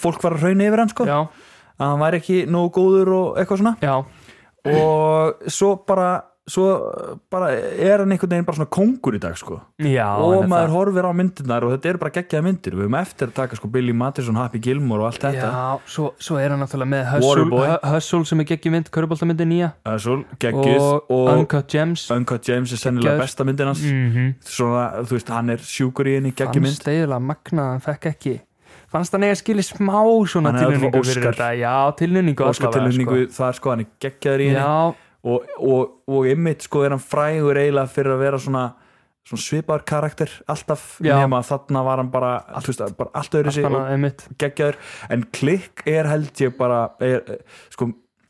[SPEAKER 1] fólk var að hrauna yfir hann sko
[SPEAKER 2] Já,
[SPEAKER 1] að hann væri ekki nógu góður og eitthvað svona
[SPEAKER 2] já,
[SPEAKER 1] og svo bara svo bara er hann einhvern veginn bara svona kongur í dag sko
[SPEAKER 2] já
[SPEAKER 1] og
[SPEAKER 2] hann er
[SPEAKER 1] maður
[SPEAKER 2] það.
[SPEAKER 1] horfir á myndirnar og þetta eru bara geggjaða myndir við höfum eftir að taka sko Billy Madison, Happy Gilmore og allt þetta
[SPEAKER 2] Já, svo, svo er hann náttúrulega með Hustle,
[SPEAKER 1] Waterboy.
[SPEAKER 2] Hu- Hustle sem er geggi mynd, Köruboltamyndi nýja
[SPEAKER 1] það er svo geggjuð
[SPEAKER 2] og,
[SPEAKER 1] og
[SPEAKER 2] Uncut Gems
[SPEAKER 1] Uncut James er sennilega
[SPEAKER 2] Geggjuð.
[SPEAKER 1] besta myndin hans
[SPEAKER 2] mm -hmm.
[SPEAKER 1] svona, þú veist, hann er sjúkur í henni geggjum mynd
[SPEAKER 2] Fannst eiginlega magna, hann fekk ekki Fannst hann eiga skili smá svona
[SPEAKER 1] Hann hefði átt að fá Óskar.
[SPEAKER 2] tilnöningu fyrir þetta Já, tilnöningu
[SPEAKER 1] Óskar tilhörningu þar sko, hann er geggjaður í henni
[SPEAKER 2] Já,
[SPEAKER 1] og, og, og ymmit sko er hann frægur eiginlega fyrir að vera svona, svona svipar karakter alltaf
[SPEAKER 2] Já.
[SPEAKER 1] nema þarna var hann bara allt, veist, bara allt öðru sig
[SPEAKER 2] allt
[SPEAKER 1] og
[SPEAKER 2] annað einmitt
[SPEAKER 1] geggjaður en klikk er held ég bara er, eh, sko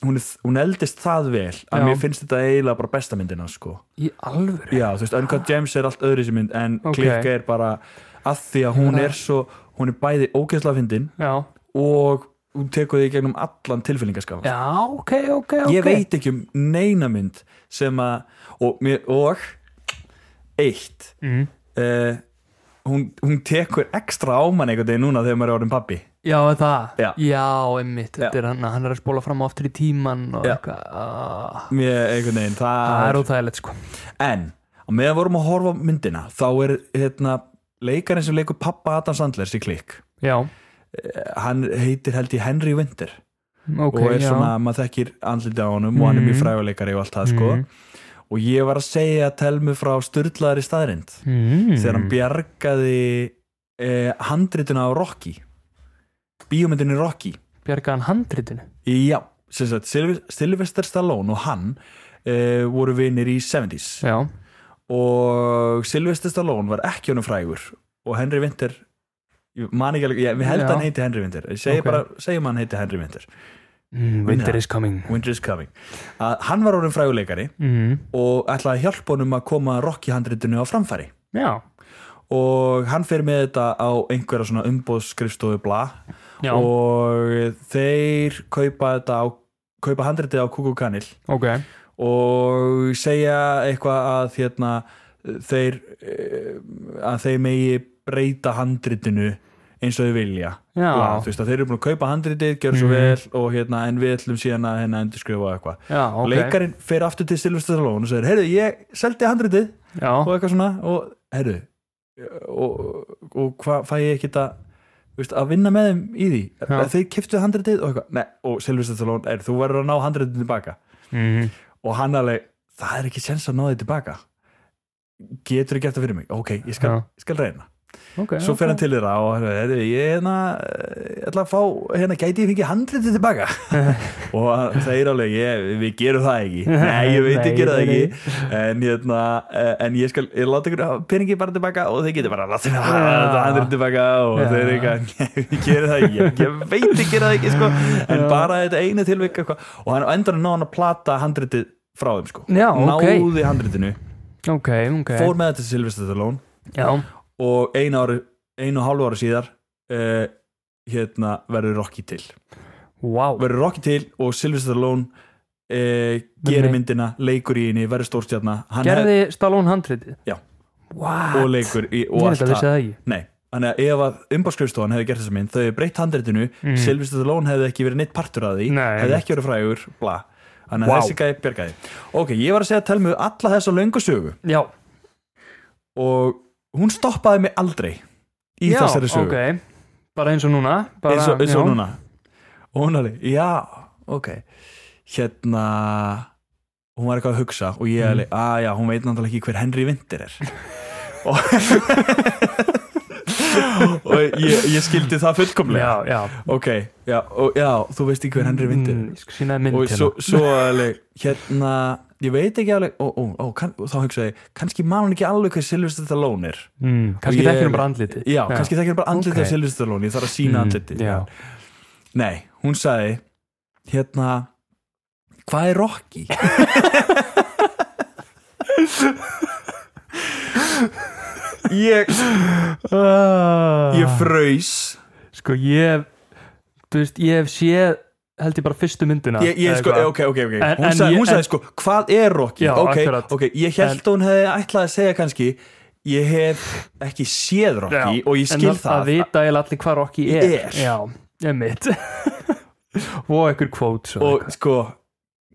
[SPEAKER 1] hún, er, hún eldist það vel að
[SPEAKER 2] Já.
[SPEAKER 1] mér finnst þetta eiginlega bara besta myndina sko
[SPEAKER 2] Í alvöru
[SPEAKER 1] já þú veist Uncut James er allt öðru sig mynd en
[SPEAKER 2] Ok.
[SPEAKER 1] klikk er bara að því að hún
[SPEAKER 2] Ég meina-
[SPEAKER 1] er svo hún er bæði ógeðslega fyndin
[SPEAKER 2] Já,
[SPEAKER 1] og hún tekur því gegnum allan tilfélningaskap
[SPEAKER 2] já, ok, ok, ok
[SPEAKER 1] ég veit ekki um neina mynd sem að og, mér- og eitt
[SPEAKER 2] mm.
[SPEAKER 1] uh, hún, hún tekur ekstra á mann einhvern veginn núna þegar maður er orðin pappi
[SPEAKER 2] Já, er það,
[SPEAKER 1] Já.
[SPEAKER 2] einmitt
[SPEAKER 1] Já.
[SPEAKER 2] Þetta er hann, hann er að spóla fram og aftur í tíman og
[SPEAKER 1] Já.
[SPEAKER 2] eitthvað ah,
[SPEAKER 1] Mér, einhvern veginn,
[SPEAKER 2] Það
[SPEAKER 1] það
[SPEAKER 2] er óþægilegt sko
[SPEAKER 1] En, á meðan vorum að horfa á myndina þá er hérna, leikarinn sem leikur pappa Adam Sandlers í klikk
[SPEAKER 2] Já,
[SPEAKER 1] hann heitir held ég Henry Winter
[SPEAKER 2] ok,
[SPEAKER 1] og er
[SPEAKER 2] já
[SPEAKER 1] svona, maður þekkir andliti á honum og hann er mjög
[SPEAKER 2] Mhm.
[SPEAKER 1] fræguleikari og allt það sko
[SPEAKER 2] Mhm.
[SPEAKER 1] og ég var að segja telmu frá styrlaðari staðrind
[SPEAKER 2] mm.
[SPEAKER 1] þegar hann bjargaði eh, handrituna á Rocky bíómyndinni Rocky
[SPEAKER 2] bjarga hann handritinu
[SPEAKER 1] já, sem sagt Sylv- Sylvester Stallone og hann eh, voru vinir í 70s
[SPEAKER 2] Já,
[SPEAKER 1] og Sylvester Stallone var ekki honum frægur og Henry Winter ég man ekki alveg, ég, við held
[SPEAKER 2] Já.
[SPEAKER 1] að hann heiti Henry Winter ég segi
[SPEAKER 2] Ok.
[SPEAKER 1] bara, segjum að hann heiti Henry Winter
[SPEAKER 2] mm, winter
[SPEAKER 1] Já.
[SPEAKER 2] is coming
[SPEAKER 1] Winter is coming að hann var orðin fræguleikari
[SPEAKER 2] mm.
[SPEAKER 1] og ætlaði að hjálpa honum að koma Rocky handritinu á framfæri
[SPEAKER 2] Já,
[SPEAKER 1] og hann fer með þetta á einhverja svona umbóðsskrifstofu bla
[SPEAKER 2] já,
[SPEAKER 1] og þeir kaupa þetta á kaupa handritið á Kukukanil
[SPEAKER 2] ok
[SPEAKER 1] og segja eitthvað að hérna þeir eh, að þeir megi breyta handritinu eins og þau vilja
[SPEAKER 2] Já. Mhm.
[SPEAKER 1] Bla, þú veist að þeir eru búin að kaupa handritið, gjör svo vel og hérna en við ætlum síðan að hérna endurskrifa og eitthvað
[SPEAKER 2] Já, ok
[SPEAKER 1] leikarinn fer aftur til Silvestur Stallone og segir, heyrðu, ég seldi handritið
[SPEAKER 2] Já,
[SPEAKER 1] og eitthvað svona og heyrðu og, og, og hvað fæ ég ekki að Veist, að vinna með þeim í því
[SPEAKER 2] Já.
[SPEAKER 1] þeir kiftuðu handritið og eitthvað Nei, og Silvestur Stallone, er, þú verður að ná handritið tilbaka
[SPEAKER 2] mm.
[SPEAKER 1] og hann alveg, það er ekki sens að ná þið tilbaka getur ekki eftir fyrir mig ok, ég skal,
[SPEAKER 2] Já.
[SPEAKER 1] ég skal reyna
[SPEAKER 2] ok
[SPEAKER 1] svo fer hann til þeirra og hann er, ég hérna, eh, ætla að fá hérna, gæti ég fengið handritið tilbaka og það er alveg, ég, við gerum það ekki nei, ég veit,
[SPEAKER 2] Nei,
[SPEAKER 1] ég gerum það
[SPEAKER 2] nei,
[SPEAKER 1] ekki en, hérna, eh, en ég skal ég láta ykkur hafa peningi bara tilbaka og þeir getur bara að láta ykkur hafa
[SPEAKER 2] Já.
[SPEAKER 1] þetta handritið tilbaka og
[SPEAKER 2] Já.
[SPEAKER 1] þeir eru eitthvað, "Nei, við gerum það ekki ég, ég veit ég gerum það ekki, sko en bara þetta einu tilvik eitthvað og hann á endanum ná hann að plata handritið frá þeim, sko
[SPEAKER 2] Já, ok.
[SPEAKER 1] náði handritinu,
[SPEAKER 2] Ok, ok
[SPEAKER 1] fór með þetta til Silvestre Stallone
[SPEAKER 2] Já,
[SPEAKER 1] og einu, ári, einu og hálfu ári síðar uh, hérna verður Rocky til
[SPEAKER 2] wow
[SPEAKER 1] verður Rocky til og Sylvester Stallone uh,
[SPEAKER 2] Nei.
[SPEAKER 1] gerir myndina, leikur í henni verður stórstjarna hann
[SPEAKER 2] Gerði Stallone handritið?
[SPEAKER 1] Já.
[SPEAKER 2] What?
[SPEAKER 1] hef- og leikur í,
[SPEAKER 2] Ég
[SPEAKER 1] og
[SPEAKER 2] er
[SPEAKER 1] allt
[SPEAKER 2] þetta að vissi
[SPEAKER 1] það
[SPEAKER 2] það ekki
[SPEAKER 1] Nei, þannig að ef að umbáskrifstofan hefði gert þessa mynd þau hefði breytt handritinu,
[SPEAKER 2] Mm.
[SPEAKER 1] mm. Sylvester Stallone hefði ekki verið neitt partur að því,
[SPEAKER 2] Nei.
[SPEAKER 1] hefði ekki verið frægur bla, þannig að
[SPEAKER 2] Vá.
[SPEAKER 1] þessi gæði bjargaði ok, ég var að segja að telmu alla þessa löngu sögu
[SPEAKER 2] Já,
[SPEAKER 1] og hún stoppaði mig aldrei í
[SPEAKER 2] já,
[SPEAKER 1] þessari sögu
[SPEAKER 2] ok Bara eins og núna bara,
[SPEAKER 1] eins og, eins og
[SPEAKER 2] já.
[SPEAKER 1] núna og hún alveg, já, ok hérna hún var eitthvað að hugsa og
[SPEAKER 2] Mm.
[SPEAKER 1] ég alveg, að já, hún veit náttúrulega ekki hver Henry Vinter er og og ég, ég skildi það fullkomlega
[SPEAKER 2] Já, já
[SPEAKER 1] ok, já, og, já, þú veist ekki hver Henry Vinter er
[SPEAKER 2] Mm, Ég skal sína það mynd
[SPEAKER 1] og
[SPEAKER 2] hérna.
[SPEAKER 1] svo, svo alveg, hérna ég veit ekki alveg, og, og, og, kann, og þá hugsaði ég, kannski man hún ekki alveg hver Sylvester Stallone er
[SPEAKER 2] mm, Kannski
[SPEAKER 1] Og ég-
[SPEAKER 2] þekkir hann bara andlitið
[SPEAKER 1] já, kannski þekkir bara andlitið
[SPEAKER 2] Ok. Mm,
[SPEAKER 1] af Sylvester Stallone, ég þarf að sína andlitið
[SPEAKER 2] Já,
[SPEAKER 1] Nei, hún sagði hérna hvað er Rocky? ég ég
[SPEAKER 2] ég
[SPEAKER 1] fröys
[SPEAKER 2] Sko ég Þú veist, ég hef séð held ég bara fyrstu myndina
[SPEAKER 1] ég, ég
[SPEAKER 2] eða
[SPEAKER 1] sko,
[SPEAKER 2] eitthvað.
[SPEAKER 1] ok, ok, ok
[SPEAKER 2] En-
[SPEAKER 1] hún
[SPEAKER 2] en
[SPEAKER 1] sagði,
[SPEAKER 2] ég-
[SPEAKER 1] hún sagði
[SPEAKER 2] en-
[SPEAKER 1] sko, hvað er Rocky?
[SPEAKER 2] Já,
[SPEAKER 1] ok,
[SPEAKER 2] akkurat.
[SPEAKER 1] ok, ég held hún hefði ætlað að segja kannski ég hef ekki séð Rocky
[SPEAKER 2] Já,
[SPEAKER 1] og ég skil
[SPEAKER 2] en
[SPEAKER 1] það
[SPEAKER 2] að vita ég allir hvað Rocky er,
[SPEAKER 1] Er.
[SPEAKER 2] já, ég mitt og einhver kvót svo
[SPEAKER 1] og sko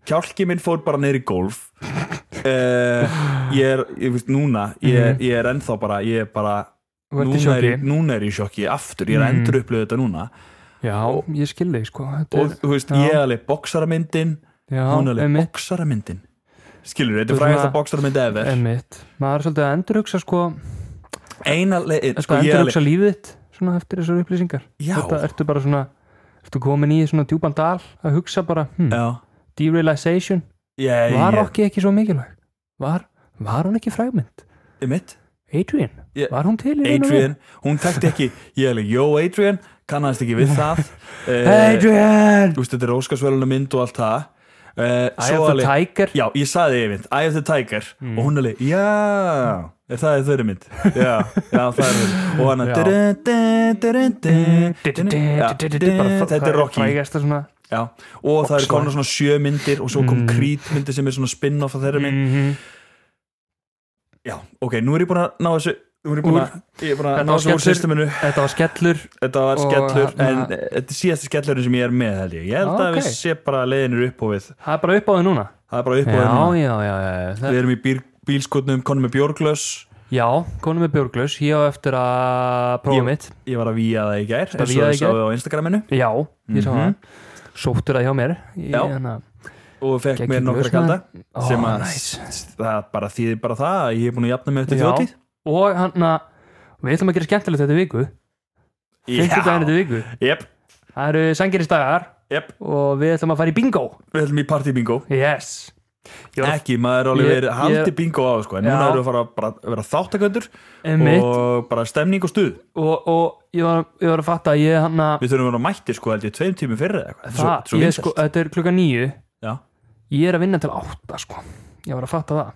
[SPEAKER 1] kjálki minn fór bara neyri gólf uh, ég er ég veist núna, ég,
[SPEAKER 2] Mhm.
[SPEAKER 1] er- ég er ennþá bara ég er bara,
[SPEAKER 2] Þú ert í
[SPEAKER 1] núna er,
[SPEAKER 2] sjokki.
[SPEAKER 1] ég- núna er ég í sjokki aftur, ég er að
[SPEAKER 2] Mhm.
[SPEAKER 1] endur upplöðu þetta núna
[SPEAKER 2] já, ég skil þig sko þetta
[SPEAKER 1] og
[SPEAKER 2] er-
[SPEAKER 1] þú veist,
[SPEAKER 2] já.
[SPEAKER 1] ég er alveg boksaramyndin
[SPEAKER 2] já,
[SPEAKER 1] hún er alveg
[SPEAKER 2] einmitt,
[SPEAKER 1] boksaramyndin skilur, þetta
[SPEAKER 2] Þú
[SPEAKER 1] er
[SPEAKER 2] veist,
[SPEAKER 1] frægast að
[SPEAKER 2] maður-
[SPEAKER 1] boksaramyndi efer
[SPEAKER 2] einmitt maður er svolítið að endurugsa sko,
[SPEAKER 1] eina leið,
[SPEAKER 2] sko
[SPEAKER 1] sko ég er alveg
[SPEAKER 2] endurugsa lífið þitt svona eftir þessar upplýsingar
[SPEAKER 1] Já.
[SPEAKER 2] þetta ertu bara svona ertu komin í svona djúpan dal að hugsa bara, hm,
[SPEAKER 1] já,
[SPEAKER 2] derealization
[SPEAKER 1] ég,
[SPEAKER 2] var
[SPEAKER 1] ég,
[SPEAKER 2] Rocky ekki svo mikilvæg var, var hún ekki frægmynd
[SPEAKER 1] ég mitt
[SPEAKER 2] Adrian,
[SPEAKER 1] Ég-
[SPEAKER 2] var hún til í raun og veru?
[SPEAKER 1] Adrian, hún þekkti ekki ég er alveg, jó Adrian, kannast ekki við það Eh,
[SPEAKER 2] Adrian
[SPEAKER 1] þú veist, þetta er óskarsverðuna mynd og allt það uh,
[SPEAKER 2] I have the tiger Mm.
[SPEAKER 1] Já, ég saði yfir mynd, Eye of the Tiger og hún alveg, já er það er þeirri mynd já, já, það er þeirri mynd og hann
[SPEAKER 2] Já.
[SPEAKER 1] að Já, þetta er Rocky já,
[SPEAKER 2] frægasta svona
[SPEAKER 1] og það er konar svona sjö myndir og svo kom
[SPEAKER 2] Mm.
[SPEAKER 1] Creed myndir sem er svona spin-off af þeirri mynd
[SPEAKER 2] Mhm.
[SPEAKER 1] já, ok, nú er ég búin að ná þessu Hún er búin að, ég er búin að
[SPEAKER 2] Þetta
[SPEAKER 1] ná
[SPEAKER 2] var
[SPEAKER 1] sem úr
[SPEAKER 2] skellur.
[SPEAKER 1] systeminu
[SPEAKER 2] Þetta var skellur
[SPEAKER 1] Þetta var
[SPEAKER 2] Og
[SPEAKER 1] skellur, en
[SPEAKER 2] hérna- Ah,
[SPEAKER 1] eh, þetta er síðasti skellurinn sem ég er með held ég Ég held að
[SPEAKER 2] Ok.
[SPEAKER 1] við sé bara leiðinir upp og við
[SPEAKER 2] Það er bara upp á þau núna
[SPEAKER 1] Það er bara upp og við
[SPEAKER 2] Já,
[SPEAKER 1] núna.
[SPEAKER 2] já, já, já, já.
[SPEAKER 1] Við erum í bíl, bílskotnum, konum með bjórglös
[SPEAKER 2] já konum með björglaus Ég á eftir að prófa
[SPEAKER 1] Ég-
[SPEAKER 2] mitt
[SPEAKER 1] Ég var að víja það í gær,
[SPEAKER 2] að
[SPEAKER 1] eins og
[SPEAKER 2] vígja það í
[SPEAKER 1] ég sáðu á Instagraminu
[SPEAKER 2] Já, ég sá
[SPEAKER 1] Mhm.
[SPEAKER 2] það Sóttur það hjá mér Ég-
[SPEAKER 1] Já.
[SPEAKER 2] hérna-
[SPEAKER 1] Og fekk
[SPEAKER 2] Gekk í
[SPEAKER 1] mér nokkra
[SPEAKER 2] glös með
[SPEAKER 1] kalda
[SPEAKER 2] Ó,
[SPEAKER 1] Sem að
[SPEAKER 2] nice.
[SPEAKER 1] það bara þýðir bara það að Ég er búin að jafna mig eftir
[SPEAKER 2] Já.
[SPEAKER 1] þjótið
[SPEAKER 2] Og hann að Við ætlum að gera skemmtilegt þetta viku Fimmtudaginn þetta viku
[SPEAKER 1] Jep,
[SPEAKER 2] Það eru sangirisdagar
[SPEAKER 1] jep,
[SPEAKER 2] Og við ætlum að fara í bingo
[SPEAKER 1] við höldum í partybingo
[SPEAKER 2] Yes Ég var-
[SPEAKER 1] Ekki, maður er alveg
[SPEAKER 2] Ég-
[SPEAKER 1] verið haldi
[SPEAKER 2] ég-
[SPEAKER 1] bingo á sko, en
[SPEAKER 2] Já.
[SPEAKER 1] núna erum við að fara að bara, vera þáttaköndur
[SPEAKER 2] Einmitt.
[SPEAKER 1] og bara stemning og stuð
[SPEAKER 2] um og, og ég, var, ég var að fatta að Ég hann að
[SPEAKER 1] Við þurfum að vera mættir sko held ég tveim tímum fyrir eða eitthvað Þetta
[SPEAKER 2] Það,
[SPEAKER 1] er svo,
[SPEAKER 2] ég
[SPEAKER 1] þetta er svo
[SPEAKER 2] sko, þetta er klukka nýju
[SPEAKER 1] Já.
[SPEAKER 2] Ég er að vinna til átta sko Ég var að fatta það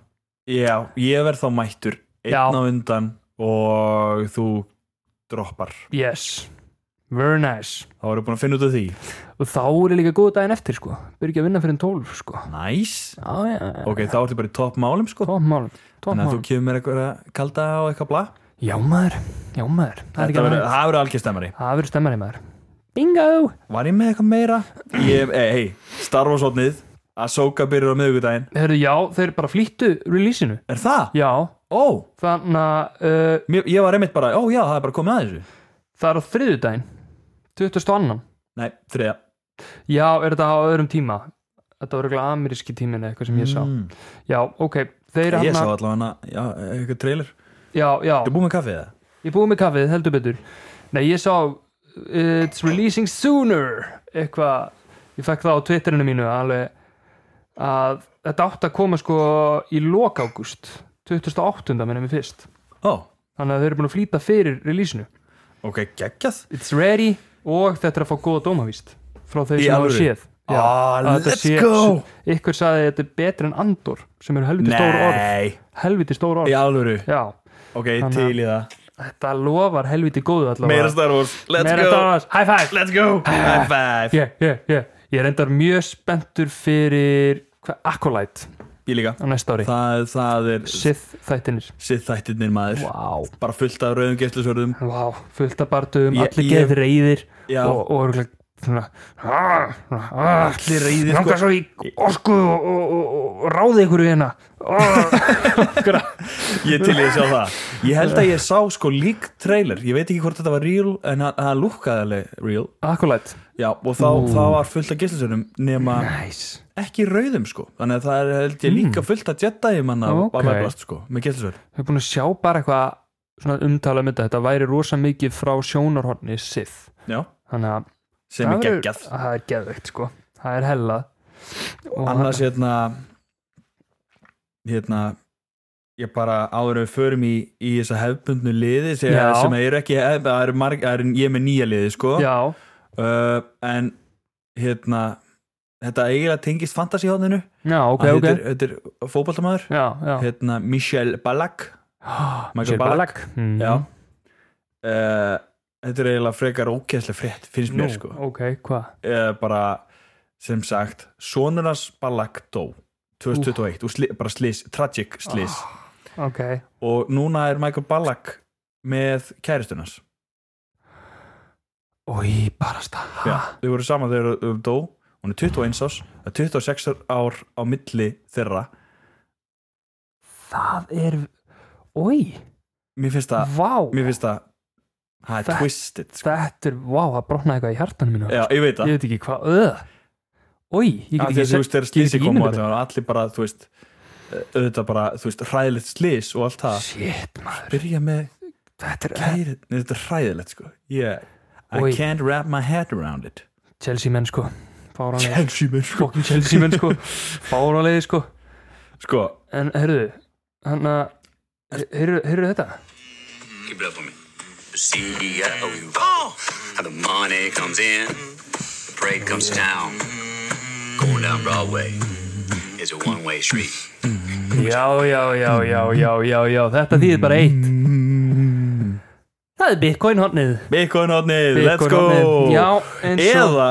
[SPEAKER 1] Já, ég verð þá mættur einn
[SPEAKER 2] Já.
[SPEAKER 1] á undan og þú droppar
[SPEAKER 2] Yes, very nice
[SPEAKER 1] þá erum við búin að finna út af því
[SPEAKER 2] Og þá er ég líka góð daginn eftir sko Byrja ekki að vinna fyrir en tólf sko
[SPEAKER 1] Nice,
[SPEAKER 2] Já, já, já
[SPEAKER 1] ok, þá ertu bara í topp málum sko
[SPEAKER 2] Tópmál,
[SPEAKER 1] Þannig að þú
[SPEAKER 2] tópmál
[SPEAKER 1] kemur mér eitthvað kalda og eitthvað bla
[SPEAKER 2] Já maður, já maður Það er
[SPEAKER 1] Þetta
[SPEAKER 2] ekki að
[SPEAKER 1] verður-
[SPEAKER 2] maður
[SPEAKER 1] Það verður algjör stemmari
[SPEAKER 2] Það verður stemmari maður Bingo
[SPEAKER 1] Var ég með eitthvað meira? Ég, ei, ei, Star Wars hotnið Ahsoka byrjar á miðvikudaginn
[SPEAKER 2] Herðu, já, þeir bara flýttu releaseinu
[SPEAKER 1] Er það?
[SPEAKER 2] Já,
[SPEAKER 1] Ó,
[SPEAKER 2] þannig að uh,
[SPEAKER 1] mér, ég var einmitt bara, ó já, það er bara komið að þessu
[SPEAKER 2] það er á þriðudaginn 22.
[SPEAKER 1] Nei, þriða
[SPEAKER 2] Já, er þetta á öðrum tíma Þetta var eitthvað ameríski tímin eða eitthvað sem ég sá Já, ok, þeir
[SPEAKER 1] Mm. Ég sá
[SPEAKER 2] hana-
[SPEAKER 1] allavega hana, já, eitthvað trailer
[SPEAKER 2] Já, já,
[SPEAKER 1] Þú búið með kaffið það?
[SPEAKER 2] ég búið með kaffið, heldur betur Nei, ég sá uh, It's releasing sooner Eitthvað, ég fekk það á Twitterinu mínu alveg að þetta átt að koma sko í lok ágúst 2008. minnum við fyrst
[SPEAKER 1] Ó,
[SPEAKER 2] Þannig að þeir eru búin að flýta fyrir releaseinu
[SPEAKER 1] ok, geggjað
[SPEAKER 2] It's ready og þetta er að fá góða dómavíst frá þeir
[SPEAKER 1] Í
[SPEAKER 2] sem hafa
[SPEAKER 1] alvöru?
[SPEAKER 2] séð Já,
[SPEAKER 1] Ah,
[SPEAKER 2] að þetta
[SPEAKER 1] let's go.
[SPEAKER 2] Ykkur sagði að þetta er betra en Andor sem eru helviti stór orð
[SPEAKER 1] Nei,
[SPEAKER 2] Helviti stór orð
[SPEAKER 1] í alvöru
[SPEAKER 2] Já,
[SPEAKER 1] Ok, til í það
[SPEAKER 2] þetta lofar helviti góðu allavega
[SPEAKER 1] Meira Star Wars, let's
[SPEAKER 2] Meira
[SPEAKER 1] go
[SPEAKER 2] Star Wars. High five
[SPEAKER 1] Let's go, high five
[SPEAKER 2] yeah, yeah, yeah. Ég er endar mjög spenntur fyrir hva, Acolyte
[SPEAKER 1] Ég líka
[SPEAKER 2] á næsta ári
[SPEAKER 1] Það, það er
[SPEAKER 2] Sith þættinir
[SPEAKER 1] sitt þættirnir maður
[SPEAKER 2] Vá,
[SPEAKER 1] Bara fullt af rauðum gæslusörðum
[SPEAKER 2] Vá. fullt af barndum,
[SPEAKER 1] Ég-
[SPEAKER 2] allir
[SPEAKER 1] ég-
[SPEAKER 2] geð reyðir
[SPEAKER 1] Já.
[SPEAKER 2] og, og örugglega svona, ah, svona, ah,
[SPEAKER 1] Allir reyðir,
[SPEAKER 2] langar
[SPEAKER 1] sko.
[SPEAKER 2] svo í orku og, og, og, og ráði ykkur við hérna ah,
[SPEAKER 1] Ég til í að sjá það Ég held að ég sá sko lík trailer Ég veit ekki hvort þetta var real En hann- hann lúkkaði alveg real
[SPEAKER 2] Acolyte
[SPEAKER 1] Já, og þá, þá var fullt af gæslusörðum Nema
[SPEAKER 2] nice.
[SPEAKER 1] ekki rauðum sko Þannig að það er held ég líka fullt af Jedi manna
[SPEAKER 2] Hmm. Ok.
[SPEAKER 1] okay. að verðast sko Með gæslusörð
[SPEAKER 2] Við erum búin að sjá bara eitthvað svona umtala um þetta, þetta væri rosa mikið frá sjónarhorni Sith
[SPEAKER 1] Já,
[SPEAKER 2] þannig að
[SPEAKER 1] sem er
[SPEAKER 2] það verður-
[SPEAKER 1] geggjað
[SPEAKER 2] það er geðveikt sko, það er hella og
[SPEAKER 1] annars hérna hérna ég bara áður en við förum í, í þessa hefbundnu liði sem,
[SPEAKER 2] Já.
[SPEAKER 1] sem eru ekki hef- það eru marg, það eru, ég er með nýja liði sko
[SPEAKER 2] já,
[SPEAKER 1] uh, en hérna þetta eiginlega tengist fantasíhóðinu
[SPEAKER 2] já, ok, ok
[SPEAKER 1] þetta, er- þetta er fótballtamaður
[SPEAKER 2] já, já,
[SPEAKER 1] hérna Michel Ballack Michael
[SPEAKER 2] Sér
[SPEAKER 1] Ballack.
[SPEAKER 2] Mm.
[SPEAKER 1] já uh, þetta er eiginlega frekar ókesslega frétt finnst
[SPEAKER 2] Nú,
[SPEAKER 1] mér sko
[SPEAKER 2] ok, hvað
[SPEAKER 1] uh, bara sem sagt sonurnas Ballack dó 2021 og sli, bara slis, tragic slis
[SPEAKER 2] Ah. ok,
[SPEAKER 1] og núna er Michael Ballack með kæristunars
[SPEAKER 2] oi, barasta
[SPEAKER 1] Já, þau voru saman þegar þau dó hún er 21 árs, það er 26 ár á milli þeirra
[SPEAKER 2] það er oi,
[SPEAKER 1] mér finnst það,
[SPEAKER 2] vá
[SPEAKER 1] mér finnst það það er
[SPEAKER 2] Þetta-
[SPEAKER 1] twisted sko.
[SPEAKER 2] þetta er, vá, það brotnaði eitthvað í hjartanum mínu
[SPEAKER 1] Já, ég veit það
[SPEAKER 2] ég veit ekki hvað, öð oi, ég
[SPEAKER 1] Af
[SPEAKER 2] get
[SPEAKER 1] því
[SPEAKER 2] ekki
[SPEAKER 1] að þú veist, þegar
[SPEAKER 2] ég get
[SPEAKER 1] slisi
[SPEAKER 2] ekki
[SPEAKER 1] kom og
[SPEAKER 2] ímyndað
[SPEAKER 1] allir, allir bara, þú veist eh, auðvitað bara, þú veist, hræðilegt slis og allt það,
[SPEAKER 2] shit, maður
[SPEAKER 1] byrja með
[SPEAKER 2] þetta er,
[SPEAKER 1] kæri, Nei, þetta er hræðilegt sko yeah. I
[SPEAKER 2] Oj.
[SPEAKER 1] can't wrap my head around it
[SPEAKER 2] Chelsea menn sko fáranlega,
[SPEAKER 1] Chelsea menn sko
[SPEAKER 2] fokkin Chelsea menn sko fáranlega sko
[SPEAKER 1] sko,
[SPEAKER 2] En heyrðu, hann að heyrðu, heyrðu þetta?
[SPEAKER 5] Keep it up on me. CEO. Oh! How the money comes in, the parade comes to town. Going down Broadway is a one way street.
[SPEAKER 2] Já, já, já, já, já, já, já þetta þýðir bara eitt
[SPEAKER 1] Mm.
[SPEAKER 2] Mm. Það er Bitcoin hotnið
[SPEAKER 1] Bitcoin hotnið, let's
[SPEAKER 2] Bitcoin
[SPEAKER 1] go
[SPEAKER 2] hornið. Já, eins og
[SPEAKER 1] eða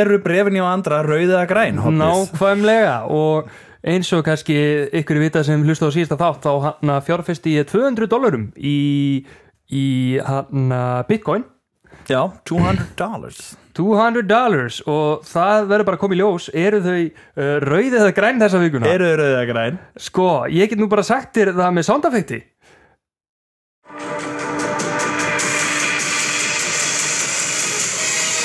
[SPEAKER 1] eru brefin hjá andra rauðið að græn hotnið
[SPEAKER 2] nákvæmlega og eins og kannski ykkur vita sem hlusta á síðasta þátt þá hann fjárfesti ég 200 dólarum í, í hann bitcoin
[SPEAKER 1] Já, 200 dollars
[SPEAKER 2] 200 dollars og það verður bara að koma í ljós eru þau uh, rauðið eða græn þessa vikuna
[SPEAKER 1] Eru þau rauða græn?
[SPEAKER 2] sko, ég get nú bara sagt þér það með soundeffekti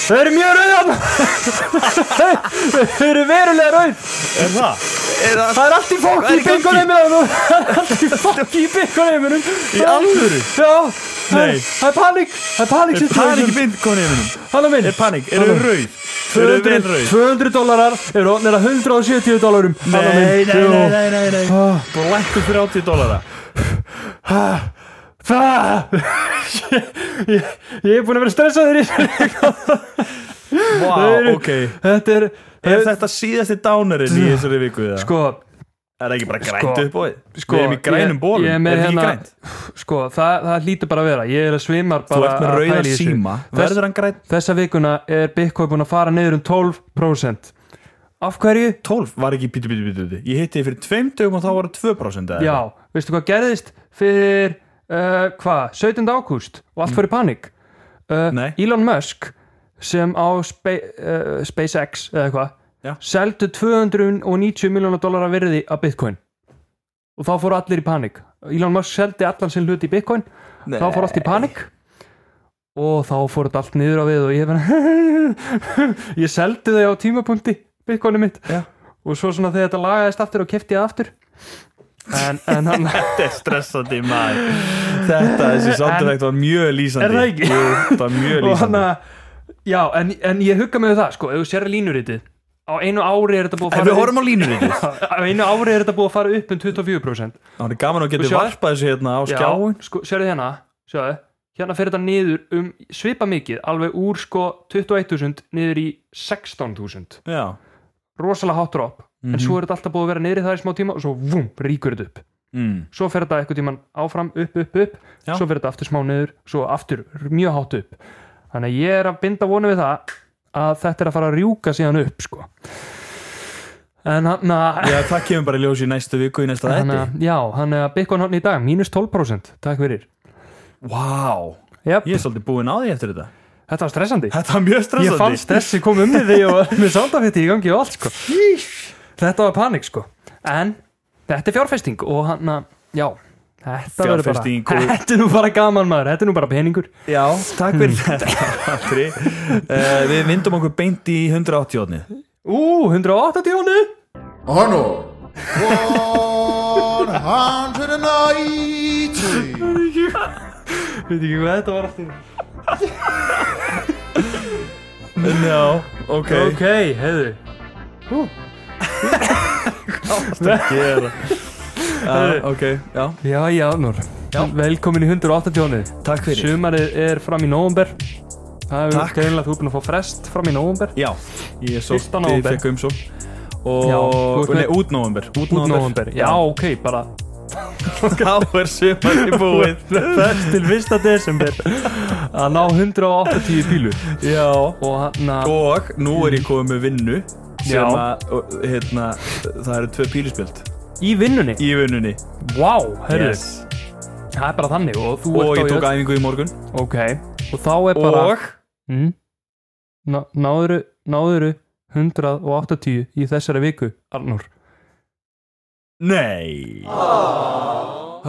[SPEAKER 2] þau eru mjög rauðan þau þau eru verulega rauð
[SPEAKER 1] Er það? Er
[SPEAKER 2] það er allt í fólk
[SPEAKER 1] Hvað
[SPEAKER 2] í
[SPEAKER 1] er í gangi?
[SPEAKER 2] bygguneiminum það er allt í fólk í bygguneiminum
[SPEAKER 1] Í alvöru?
[SPEAKER 2] já, það er-
[SPEAKER 1] Nei.
[SPEAKER 2] það er panik það er panik
[SPEAKER 1] Er panik í myndkoninum?
[SPEAKER 2] Hanna minn
[SPEAKER 1] Er panik? Er þau rauð? Eru þau vel
[SPEAKER 2] 200,
[SPEAKER 1] rauð?
[SPEAKER 2] 200 dólarar eru orðnir að 170 dólarum Anna
[SPEAKER 1] Nei,
[SPEAKER 2] mín,
[SPEAKER 1] nei,
[SPEAKER 2] jú.
[SPEAKER 1] nei, nei, nei, nei.
[SPEAKER 2] Ah.
[SPEAKER 1] Blækku 30 dólara
[SPEAKER 2] Það ég, ég er búin að vera stressaður í þessu. Þau
[SPEAKER 1] Vá,
[SPEAKER 2] eru-
[SPEAKER 1] ok
[SPEAKER 2] Þetta er,
[SPEAKER 1] Er þetta síðasti dánerinn í þessari viku eða?
[SPEAKER 2] Sko,
[SPEAKER 1] Er það ekki bara grænt
[SPEAKER 2] Sko,
[SPEAKER 1] upp á því?
[SPEAKER 2] sko
[SPEAKER 1] Við erum í grænum
[SPEAKER 2] ég-
[SPEAKER 1] bólum,
[SPEAKER 2] ég
[SPEAKER 1] er
[SPEAKER 2] með
[SPEAKER 1] það ekki
[SPEAKER 2] hérna-
[SPEAKER 1] grænt?
[SPEAKER 2] sko það, það hlýtur bara að vera Ég er að svimar
[SPEAKER 1] Þú
[SPEAKER 2] bara
[SPEAKER 1] ert með
[SPEAKER 2] að
[SPEAKER 1] rauðan
[SPEAKER 2] pæla í þessu.
[SPEAKER 1] síma,
[SPEAKER 2] Þess,
[SPEAKER 1] verður hann grænt?
[SPEAKER 2] Þessa vikuna er Bitcoin búin að fara niður um 12% Af hverju?
[SPEAKER 1] 12 var ekki bíti, bíti, bíti, bíti Ég hitti þið fyrir tveim dögum og þá var það 2% eða?
[SPEAKER 2] Já, veistu hvað gerðist fyrir uh, hvað, 17. ágúst og allt fyrir panik uh,
[SPEAKER 1] Nei.
[SPEAKER 2] Elon Musk sem á spe, uh, SpaceX
[SPEAKER 1] Já.
[SPEAKER 2] eða eitthvað seldu 290 miljónar dólar virði af Bitcoin og þá fóru allir í panik Elon Musk seldi allan sinn hlut í Bitcoin
[SPEAKER 1] Nei.
[SPEAKER 2] þá fóru allt í panik og þá fóru þetta allt niður á við og ég bara ég seldi þau á tímapunkti Bitcoinu mitt
[SPEAKER 1] Já.
[SPEAKER 2] og svo svona þegar þetta lagaðist aftur og kefti ég það aftur en, en hann
[SPEAKER 1] Þetta er stressandi maður Þetta, þessi soundeffekt var mjög lýsandi
[SPEAKER 2] Er það ekki?
[SPEAKER 1] Jú, þetta var mjög
[SPEAKER 2] og hann
[SPEAKER 1] lýsandi
[SPEAKER 2] já, en, en ég hugga mig við það sko, ef þú sér línurítið á einu ári er þetta búið
[SPEAKER 1] En
[SPEAKER 2] að
[SPEAKER 1] við
[SPEAKER 2] fara
[SPEAKER 1] horfum á línurítið
[SPEAKER 2] upp á einu ári er þetta búið að fara upp um 24%
[SPEAKER 1] Það er gaman að
[SPEAKER 2] Og
[SPEAKER 1] geta
[SPEAKER 2] sjá-
[SPEAKER 1] varpað þessu hérna á skjáin
[SPEAKER 2] já, sko, sérðu hérna sjáðu, hérna fer þetta niður um svipa mikið, alveg úr sko 21.000 niður í 16.000
[SPEAKER 1] Já,
[SPEAKER 2] rosalega hot drop,
[SPEAKER 1] Mhm.
[SPEAKER 2] en svo er þetta alltaf búið að vera niður í það í smá tíma og svo vum, ríkur þetta upp
[SPEAKER 1] mm.
[SPEAKER 2] svo fer þetta eitthvað tíman áfram upp, upp, upp
[SPEAKER 1] Já.
[SPEAKER 2] svo fer þetta aftur smá niður svo aftur mjög hátt upp þannig að ég er að binda vonu við það að þetta er að fara að rjúka síðan upp sko. en hann að
[SPEAKER 1] já það kemur bara í ljós í næstu viku í næsta
[SPEAKER 2] hann
[SPEAKER 1] þetta
[SPEAKER 2] að, já, hann er að Bitcoin hann í dag mínus 12%, takk fyrir
[SPEAKER 1] Vá,
[SPEAKER 2] Jep,
[SPEAKER 1] ég er svolítið búinn á því eftir þetta
[SPEAKER 2] þetta var stressandi
[SPEAKER 1] Þetta var mjög stressandi
[SPEAKER 2] ég fann stressi kom um mig því og var með sándafetti í gangi og allt sko. þetta var panik sko. en þetta er fjárfesting og hann að, já Þetta, verður bara,
[SPEAKER 1] Fjárfesting og-
[SPEAKER 2] þetta er nú bara gaman maður, þetta er nú bara peningur
[SPEAKER 1] Já, takk fyrir þetta Andri uh, Við myndum okkur beint í 180 átni
[SPEAKER 2] Ú, 180 hónu
[SPEAKER 6] Honor. 180.
[SPEAKER 2] Veit ekki hvað þetta var aftur
[SPEAKER 1] Já, ok
[SPEAKER 2] Ok, heiðu
[SPEAKER 1] Gera. Já, Ok, já,
[SPEAKER 2] Já, já, Arnur Velkomin í 180 hónu
[SPEAKER 1] takk fyrir
[SPEAKER 2] Sumarið er fram í nóvumber Það er
[SPEAKER 1] Takk.
[SPEAKER 2] greinlega þú er búin að fá frest fram í nóvumber
[SPEAKER 1] Já, ég
[SPEAKER 2] Fyrsta
[SPEAKER 1] sótti,
[SPEAKER 2] nóvember.
[SPEAKER 1] fekk umsó
[SPEAKER 2] Já, þú
[SPEAKER 1] og,
[SPEAKER 2] ert
[SPEAKER 1] nei,
[SPEAKER 2] með-
[SPEAKER 1] út nóvember
[SPEAKER 2] Út nóvember Já, ok, bara
[SPEAKER 1] þá er sumarni búið
[SPEAKER 2] Frest til 1. desember Að ná 180 pílu
[SPEAKER 1] já
[SPEAKER 2] Og hann að
[SPEAKER 1] og nú er ég komið með vinnu sem
[SPEAKER 2] Já.
[SPEAKER 1] að, og, hérna, það eru tvö pílispjöld
[SPEAKER 2] Í vinnunni
[SPEAKER 1] í vinnunni
[SPEAKER 2] Vá, heyrðu Það er bara þannig Og þú
[SPEAKER 1] og
[SPEAKER 2] ert á
[SPEAKER 1] ég tók
[SPEAKER 2] öll-
[SPEAKER 1] æfingu í morgun
[SPEAKER 2] Ok Og þá er bara
[SPEAKER 1] og
[SPEAKER 2] mm? Ná, náðuru, náðuru 180 í þessari viku Arnur
[SPEAKER 1] nei Ah.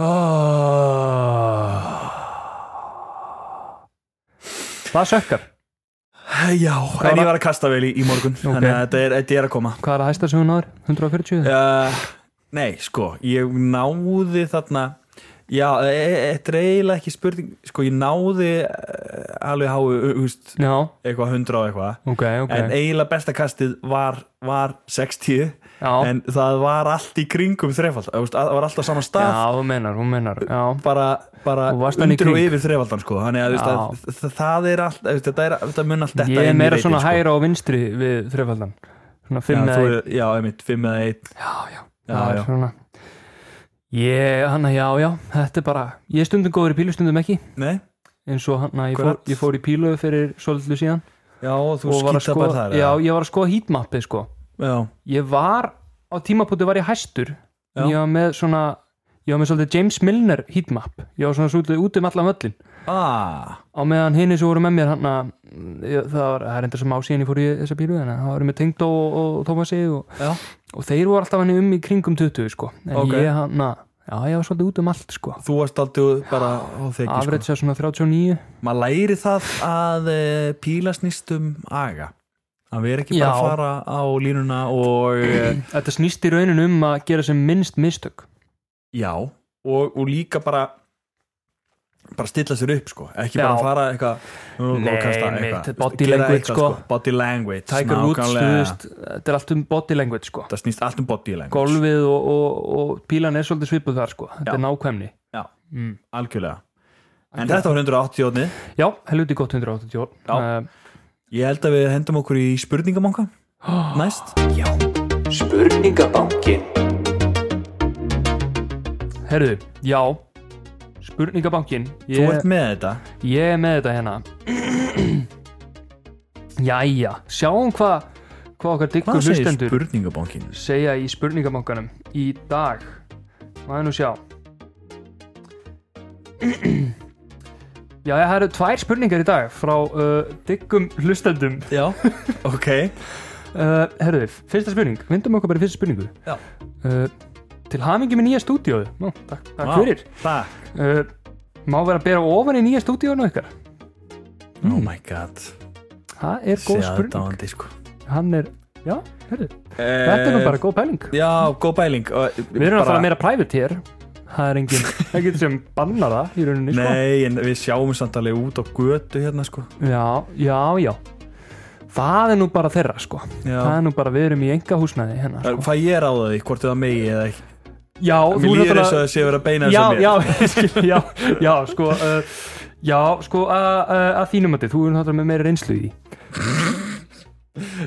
[SPEAKER 2] Það sökkar
[SPEAKER 1] já, en ég var að kasta vel í, í morgun þannig að þetta er, þetta er að koma
[SPEAKER 2] Hvað er að hæsta sem hún náður? 140?
[SPEAKER 1] uh, nei, sko ég náði þarna já, e- e- þetta er eiginlega ekki spurning sko, ég náði eh, alveg háu, eh, þú veist,
[SPEAKER 2] Já,
[SPEAKER 1] eitthvað hundra og eitthvað
[SPEAKER 2] ok, ok
[SPEAKER 1] en eiginlega besta kastið var, var 60
[SPEAKER 2] Já,
[SPEAKER 1] en það var allt í kringum þrefald það var alltaf saman
[SPEAKER 2] já,
[SPEAKER 1] stað
[SPEAKER 2] þú meinar, hún meinar Já,
[SPEAKER 1] bara, bara
[SPEAKER 2] Þú varst hann í
[SPEAKER 1] undir og
[SPEAKER 2] kring.
[SPEAKER 1] yfir þrefaldan sko. þannig að, þú veist, að þ- það er allt þú veist, þetta, er, þetta mun allt þetta
[SPEAKER 2] ég er
[SPEAKER 1] inn í
[SPEAKER 2] meira
[SPEAKER 1] reitinn,
[SPEAKER 2] svona
[SPEAKER 1] sko.
[SPEAKER 2] hæra og vinstri við þrefaldan Svona
[SPEAKER 1] já,
[SPEAKER 2] fimm
[SPEAKER 1] þú
[SPEAKER 2] eða
[SPEAKER 1] er- já, einmitt, 5 eða 1
[SPEAKER 2] Já, já,
[SPEAKER 1] Já,
[SPEAKER 2] það
[SPEAKER 1] já.
[SPEAKER 2] er svona Ég, hann að já, já, þetta er bara Ég er stundum góður í pílu, stundum ekki
[SPEAKER 1] Nei?
[SPEAKER 2] eins og hann að ég fór,
[SPEAKER 1] Akkurat.
[SPEAKER 2] ég fór í pílu fyrir svolítið síðan
[SPEAKER 1] já, þú
[SPEAKER 2] og var að
[SPEAKER 1] skýta
[SPEAKER 2] skoða
[SPEAKER 1] bara þar
[SPEAKER 2] já,
[SPEAKER 1] eða?
[SPEAKER 2] ég var að skoða heatmappi sko
[SPEAKER 1] já,
[SPEAKER 2] ég var á á tímapúti var ég hæstur
[SPEAKER 1] Já.
[SPEAKER 2] ég var með svona ég var með svolítið James Milner heatmap ég var svona svolítið út um allan völlin
[SPEAKER 1] ah,
[SPEAKER 2] á meðan hinni sem voru með mér hann að það var, það er enda sem ásíðan ég fór í þessa bílu en það voru með Tengdó og, og Tómasi og,
[SPEAKER 1] Já.
[SPEAKER 2] og þeir voru alltaf hann um í kringum 20 sko, en
[SPEAKER 1] Ok.
[SPEAKER 2] ég hann að já, ég var svolítið út um allt sko
[SPEAKER 1] þú varst aldrei bara á þegi sko.
[SPEAKER 2] Afrits er svona 39
[SPEAKER 1] maður læri það að eh, píla snýst um aga að vera ekki bara
[SPEAKER 2] Já.
[SPEAKER 1] að fara á línuna og eh,
[SPEAKER 2] Þetta snýst í raunin um að gera sem minnst mistök
[SPEAKER 1] já og, og líka bara bara stilla sér upp sko ekki bara
[SPEAKER 2] Já.
[SPEAKER 1] að fara eitthvað nú,
[SPEAKER 2] Nei,
[SPEAKER 1] og kasta
[SPEAKER 2] mitt,
[SPEAKER 1] eitthvað, þú veist,
[SPEAKER 2] body
[SPEAKER 1] gera
[SPEAKER 2] language, sko.
[SPEAKER 1] body language
[SPEAKER 2] Tiger Woods, þú
[SPEAKER 1] nákvæmlega.
[SPEAKER 2] veist, þetta er allt um body language sko.
[SPEAKER 1] það snýst allt um body language
[SPEAKER 2] golfið og, og, og pílan er svolítið svipuð þar sko. þetta
[SPEAKER 1] Já.
[SPEAKER 2] er nákvæmni
[SPEAKER 1] já,
[SPEAKER 2] mm.
[SPEAKER 1] algjörlega en þetta var 180 ótni
[SPEAKER 2] já, helviti gott 180
[SPEAKER 1] Já.
[SPEAKER 2] Eh,
[SPEAKER 1] ég held að við hendum okkur í spurningamanga næst
[SPEAKER 2] herðu, já spurningabankin
[SPEAKER 1] þú
[SPEAKER 2] ég,
[SPEAKER 1] ert með þetta
[SPEAKER 2] ég er með þetta hérna jæja, sjáum hvað hva okkar diggur
[SPEAKER 1] hvað segir
[SPEAKER 2] hlustendur
[SPEAKER 1] spurningabankin
[SPEAKER 2] segja í spurningabankanum í dag maður nú sjá já, það eru tvær spurningar í dag frá uh, diggum hlustendum
[SPEAKER 1] já, ok
[SPEAKER 2] uh, herðu, fyrsta spurning, vindum okkur bara í fyrsta spurningu
[SPEAKER 1] Já.
[SPEAKER 2] uh, til hamingi með nýja stúdíóðu Nú, takk, takk
[SPEAKER 1] Vá,
[SPEAKER 2] fyrir
[SPEAKER 1] Takk
[SPEAKER 2] uh, má vera að bera ofan í nýja stúdíónu ykkar
[SPEAKER 1] Oh my god
[SPEAKER 2] það er góð spurning
[SPEAKER 1] dáandi, sko.
[SPEAKER 2] hann er, já, herðu, þetta er nú bara góð pæling
[SPEAKER 1] Já, góð bæling og,
[SPEAKER 2] við erum
[SPEAKER 1] Eh, bara-
[SPEAKER 2] að fara meira private hér það er engin, það getur sem banna það í rauninni, sko
[SPEAKER 1] Nei, en við sjáum samt alveg út á götu hérna sko
[SPEAKER 2] Já, já, já Það er nú bara þeirra sko
[SPEAKER 1] Já.
[SPEAKER 2] Það er nú bara, við erum í enga húsnæði hennar sko.
[SPEAKER 1] Hvað ég er á því, hvort það megi eða ekki
[SPEAKER 2] Já, þú
[SPEAKER 1] Mér líður
[SPEAKER 2] náttúrulega-
[SPEAKER 1] þess að það sé að vera að beina
[SPEAKER 2] já,
[SPEAKER 1] þessu að mér
[SPEAKER 2] já, ég skil, já, já, sko uh, Já, sko, að- að að þínum að þið Þú erum þáttur með meira reynslu í því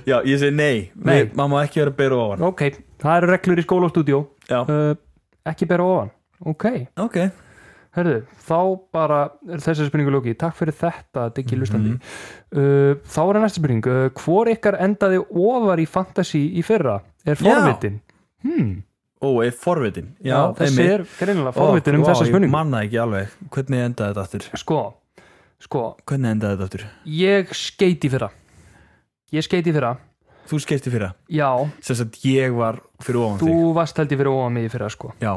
[SPEAKER 1] Já, ég segi nei,
[SPEAKER 2] Nei.
[SPEAKER 1] nei. maður má ekki vera að bera ofan
[SPEAKER 2] Ok, það eru reglur í skóla og stúdíó
[SPEAKER 1] Já,
[SPEAKER 2] uh, Ekki bera ofan Ok,
[SPEAKER 1] ok
[SPEAKER 2] herðu, þá bara er þessari spurningu lóki Takk fyrir þetta,
[SPEAKER 1] Mhm.
[SPEAKER 2] Diggi Lustandi uh, Þá er næsta spurning uh, Hvor ykkar endaði ofar í fantasy í fyrra? Er forvitin?
[SPEAKER 1] Ó, er forvitin Já,
[SPEAKER 2] Já, þessi
[SPEAKER 1] einmitt.
[SPEAKER 2] er greinilega forvitin um
[SPEAKER 1] Ó,
[SPEAKER 2] þessa
[SPEAKER 1] vá, Ég
[SPEAKER 2] spurningu
[SPEAKER 1] manna ekki alveg, hvernig endaði þetta aftur
[SPEAKER 2] Sko, sko,
[SPEAKER 1] Hvernig endaði þetta aftur
[SPEAKER 2] ég skeiti fyrra Ég skeiti fyrra
[SPEAKER 1] Þú skeisti fyrir það
[SPEAKER 2] Já,
[SPEAKER 1] Sess að ég var fyrir ofan
[SPEAKER 2] þú
[SPEAKER 1] þig
[SPEAKER 2] varst held ég fyrir óa mig í fyrra sko
[SPEAKER 1] Já,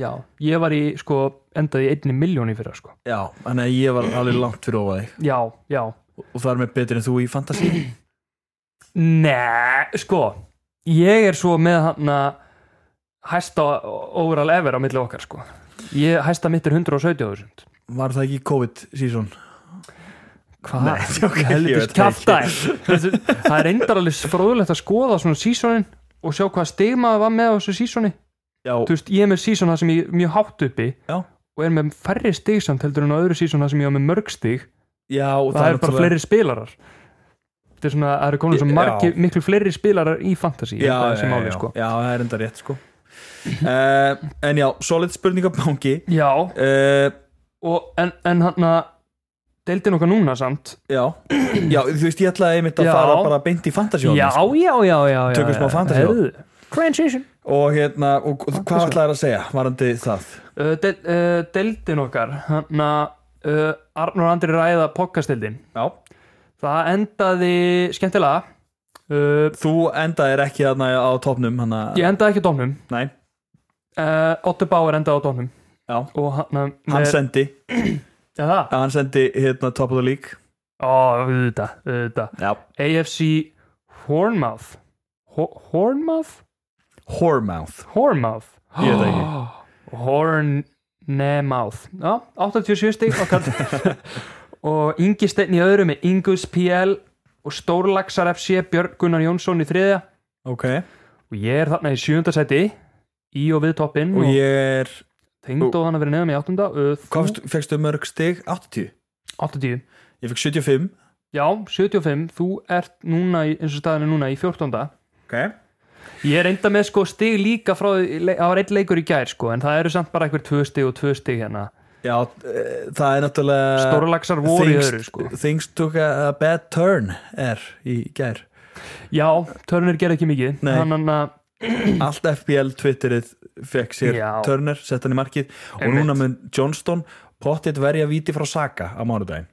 [SPEAKER 2] Já, ég var í, sko, endaði í einni miljón í fyrra sko
[SPEAKER 1] já, þannig að ég var alveg langt fyrir ofan þig
[SPEAKER 2] Já, já
[SPEAKER 1] og það er með betur en þú í fantasy
[SPEAKER 2] Nei, sko Ég er svo með hann að hæsta overall ever á milli okkar sko Ég hæsta mitt er 170.000
[SPEAKER 1] var það ekki COVID season
[SPEAKER 2] Hvað?
[SPEAKER 1] Nei, ok, ég
[SPEAKER 2] helvitis
[SPEAKER 1] veit það ekki.
[SPEAKER 2] kjafta það er endar alveg fróðulegt að skoða svona sísonin og sjá hvað stigma það var með á þessu sísoni
[SPEAKER 1] já,
[SPEAKER 2] þú veist, ég er með sísona sem ég er mjög hátt uppi
[SPEAKER 1] Já.
[SPEAKER 2] og er með færri stig samt heldur en á öðru sísona sem ég var með mörg stig
[SPEAKER 1] já
[SPEAKER 2] og það, er bara fleiri spilarar þetta er svona, það eru komin svo
[SPEAKER 1] Já.
[SPEAKER 2] margi, miklu fleiri spilarar í fantasy
[SPEAKER 1] já,
[SPEAKER 2] þetta er
[SPEAKER 1] já,
[SPEAKER 2] þessi máli,
[SPEAKER 1] já,
[SPEAKER 2] sko.
[SPEAKER 1] já, það er enda rétt sko uh, en já, solid spurningabangi
[SPEAKER 2] já,
[SPEAKER 1] uh,
[SPEAKER 2] og en, en hann að deildin okkar núna samt
[SPEAKER 1] já, já, þú veist ég ætlaði einmitt að
[SPEAKER 2] Já.
[SPEAKER 1] fara bara beint í fantasy
[SPEAKER 2] já, já,
[SPEAKER 1] sko.
[SPEAKER 2] já, já, já, já
[SPEAKER 1] Tökum smá fantasy á.
[SPEAKER 2] Heyrðu, transition
[SPEAKER 1] og hérna, og, og hvað
[SPEAKER 2] Fantasy.
[SPEAKER 1] ætlaði að segja varandi það
[SPEAKER 2] Uh, del, uh, deildin okkar hann að uh, Arnur og Andri ræða podcastildin
[SPEAKER 1] já.
[SPEAKER 2] það endaði skemmtilega uh,
[SPEAKER 1] þú endaðir ekki þarna á topnum hana,
[SPEAKER 2] ég endaði ekki á dómnum
[SPEAKER 1] nei,
[SPEAKER 2] uh, Otto Bauer endaði á dómnum
[SPEAKER 1] já
[SPEAKER 2] og hann að-
[SPEAKER 1] Hann
[SPEAKER 2] með-
[SPEAKER 1] sendi,
[SPEAKER 2] Já, það?
[SPEAKER 1] hann sendi hérna top of the league
[SPEAKER 2] ó, auðvitað, auðvitað
[SPEAKER 1] Já,
[SPEAKER 2] AFC Hornmouth Ho Hornmouth?
[SPEAKER 1] Whoremouth
[SPEAKER 2] Hornmouth
[SPEAKER 1] Ég veit það ekki.
[SPEAKER 2] Hornemouth Já, 87 stík og og Ingi Steinn í öðru með Ingus PL og Stórlaxar FC Björn Gunnar Jónsson í þriðja
[SPEAKER 1] Ok,
[SPEAKER 2] og ég er þarna í sjönda sæti í og við toppinn
[SPEAKER 1] og
[SPEAKER 2] og, og
[SPEAKER 1] ég er
[SPEAKER 2] tengd og hann að vera neðan í áttunda uh, þú-
[SPEAKER 1] Hvað fyrstu- fékkstu mörg stig? 80
[SPEAKER 2] 80
[SPEAKER 1] Ég fekk 75
[SPEAKER 2] Já, 75, þú ert núna í, eins og staðan er núna í 14.
[SPEAKER 1] okay.
[SPEAKER 2] Ég er enda með sko stig líka frá, því- le- það var einn leikur í gær sko, en það eru samt bara einhver tvö stig og tvö stig hérna.
[SPEAKER 1] Já, eh, það er náttúrulega
[SPEAKER 2] Stórlaxar voru í
[SPEAKER 1] Things-
[SPEAKER 2] öðru sko.
[SPEAKER 1] Things took a, a bad turn er í gær
[SPEAKER 2] Já, törnir gerði ekki mikið.
[SPEAKER 1] Nei.
[SPEAKER 2] Þannig að
[SPEAKER 1] allt FPL Twitterið fekk sér
[SPEAKER 2] Hmm. Já.
[SPEAKER 1] Turner, sett hann í markið og
[SPEAKER 2] Einmitt.
[SPEAKER 1] núna mun Johnston pottitt verja víti frá Saka á mánudaginn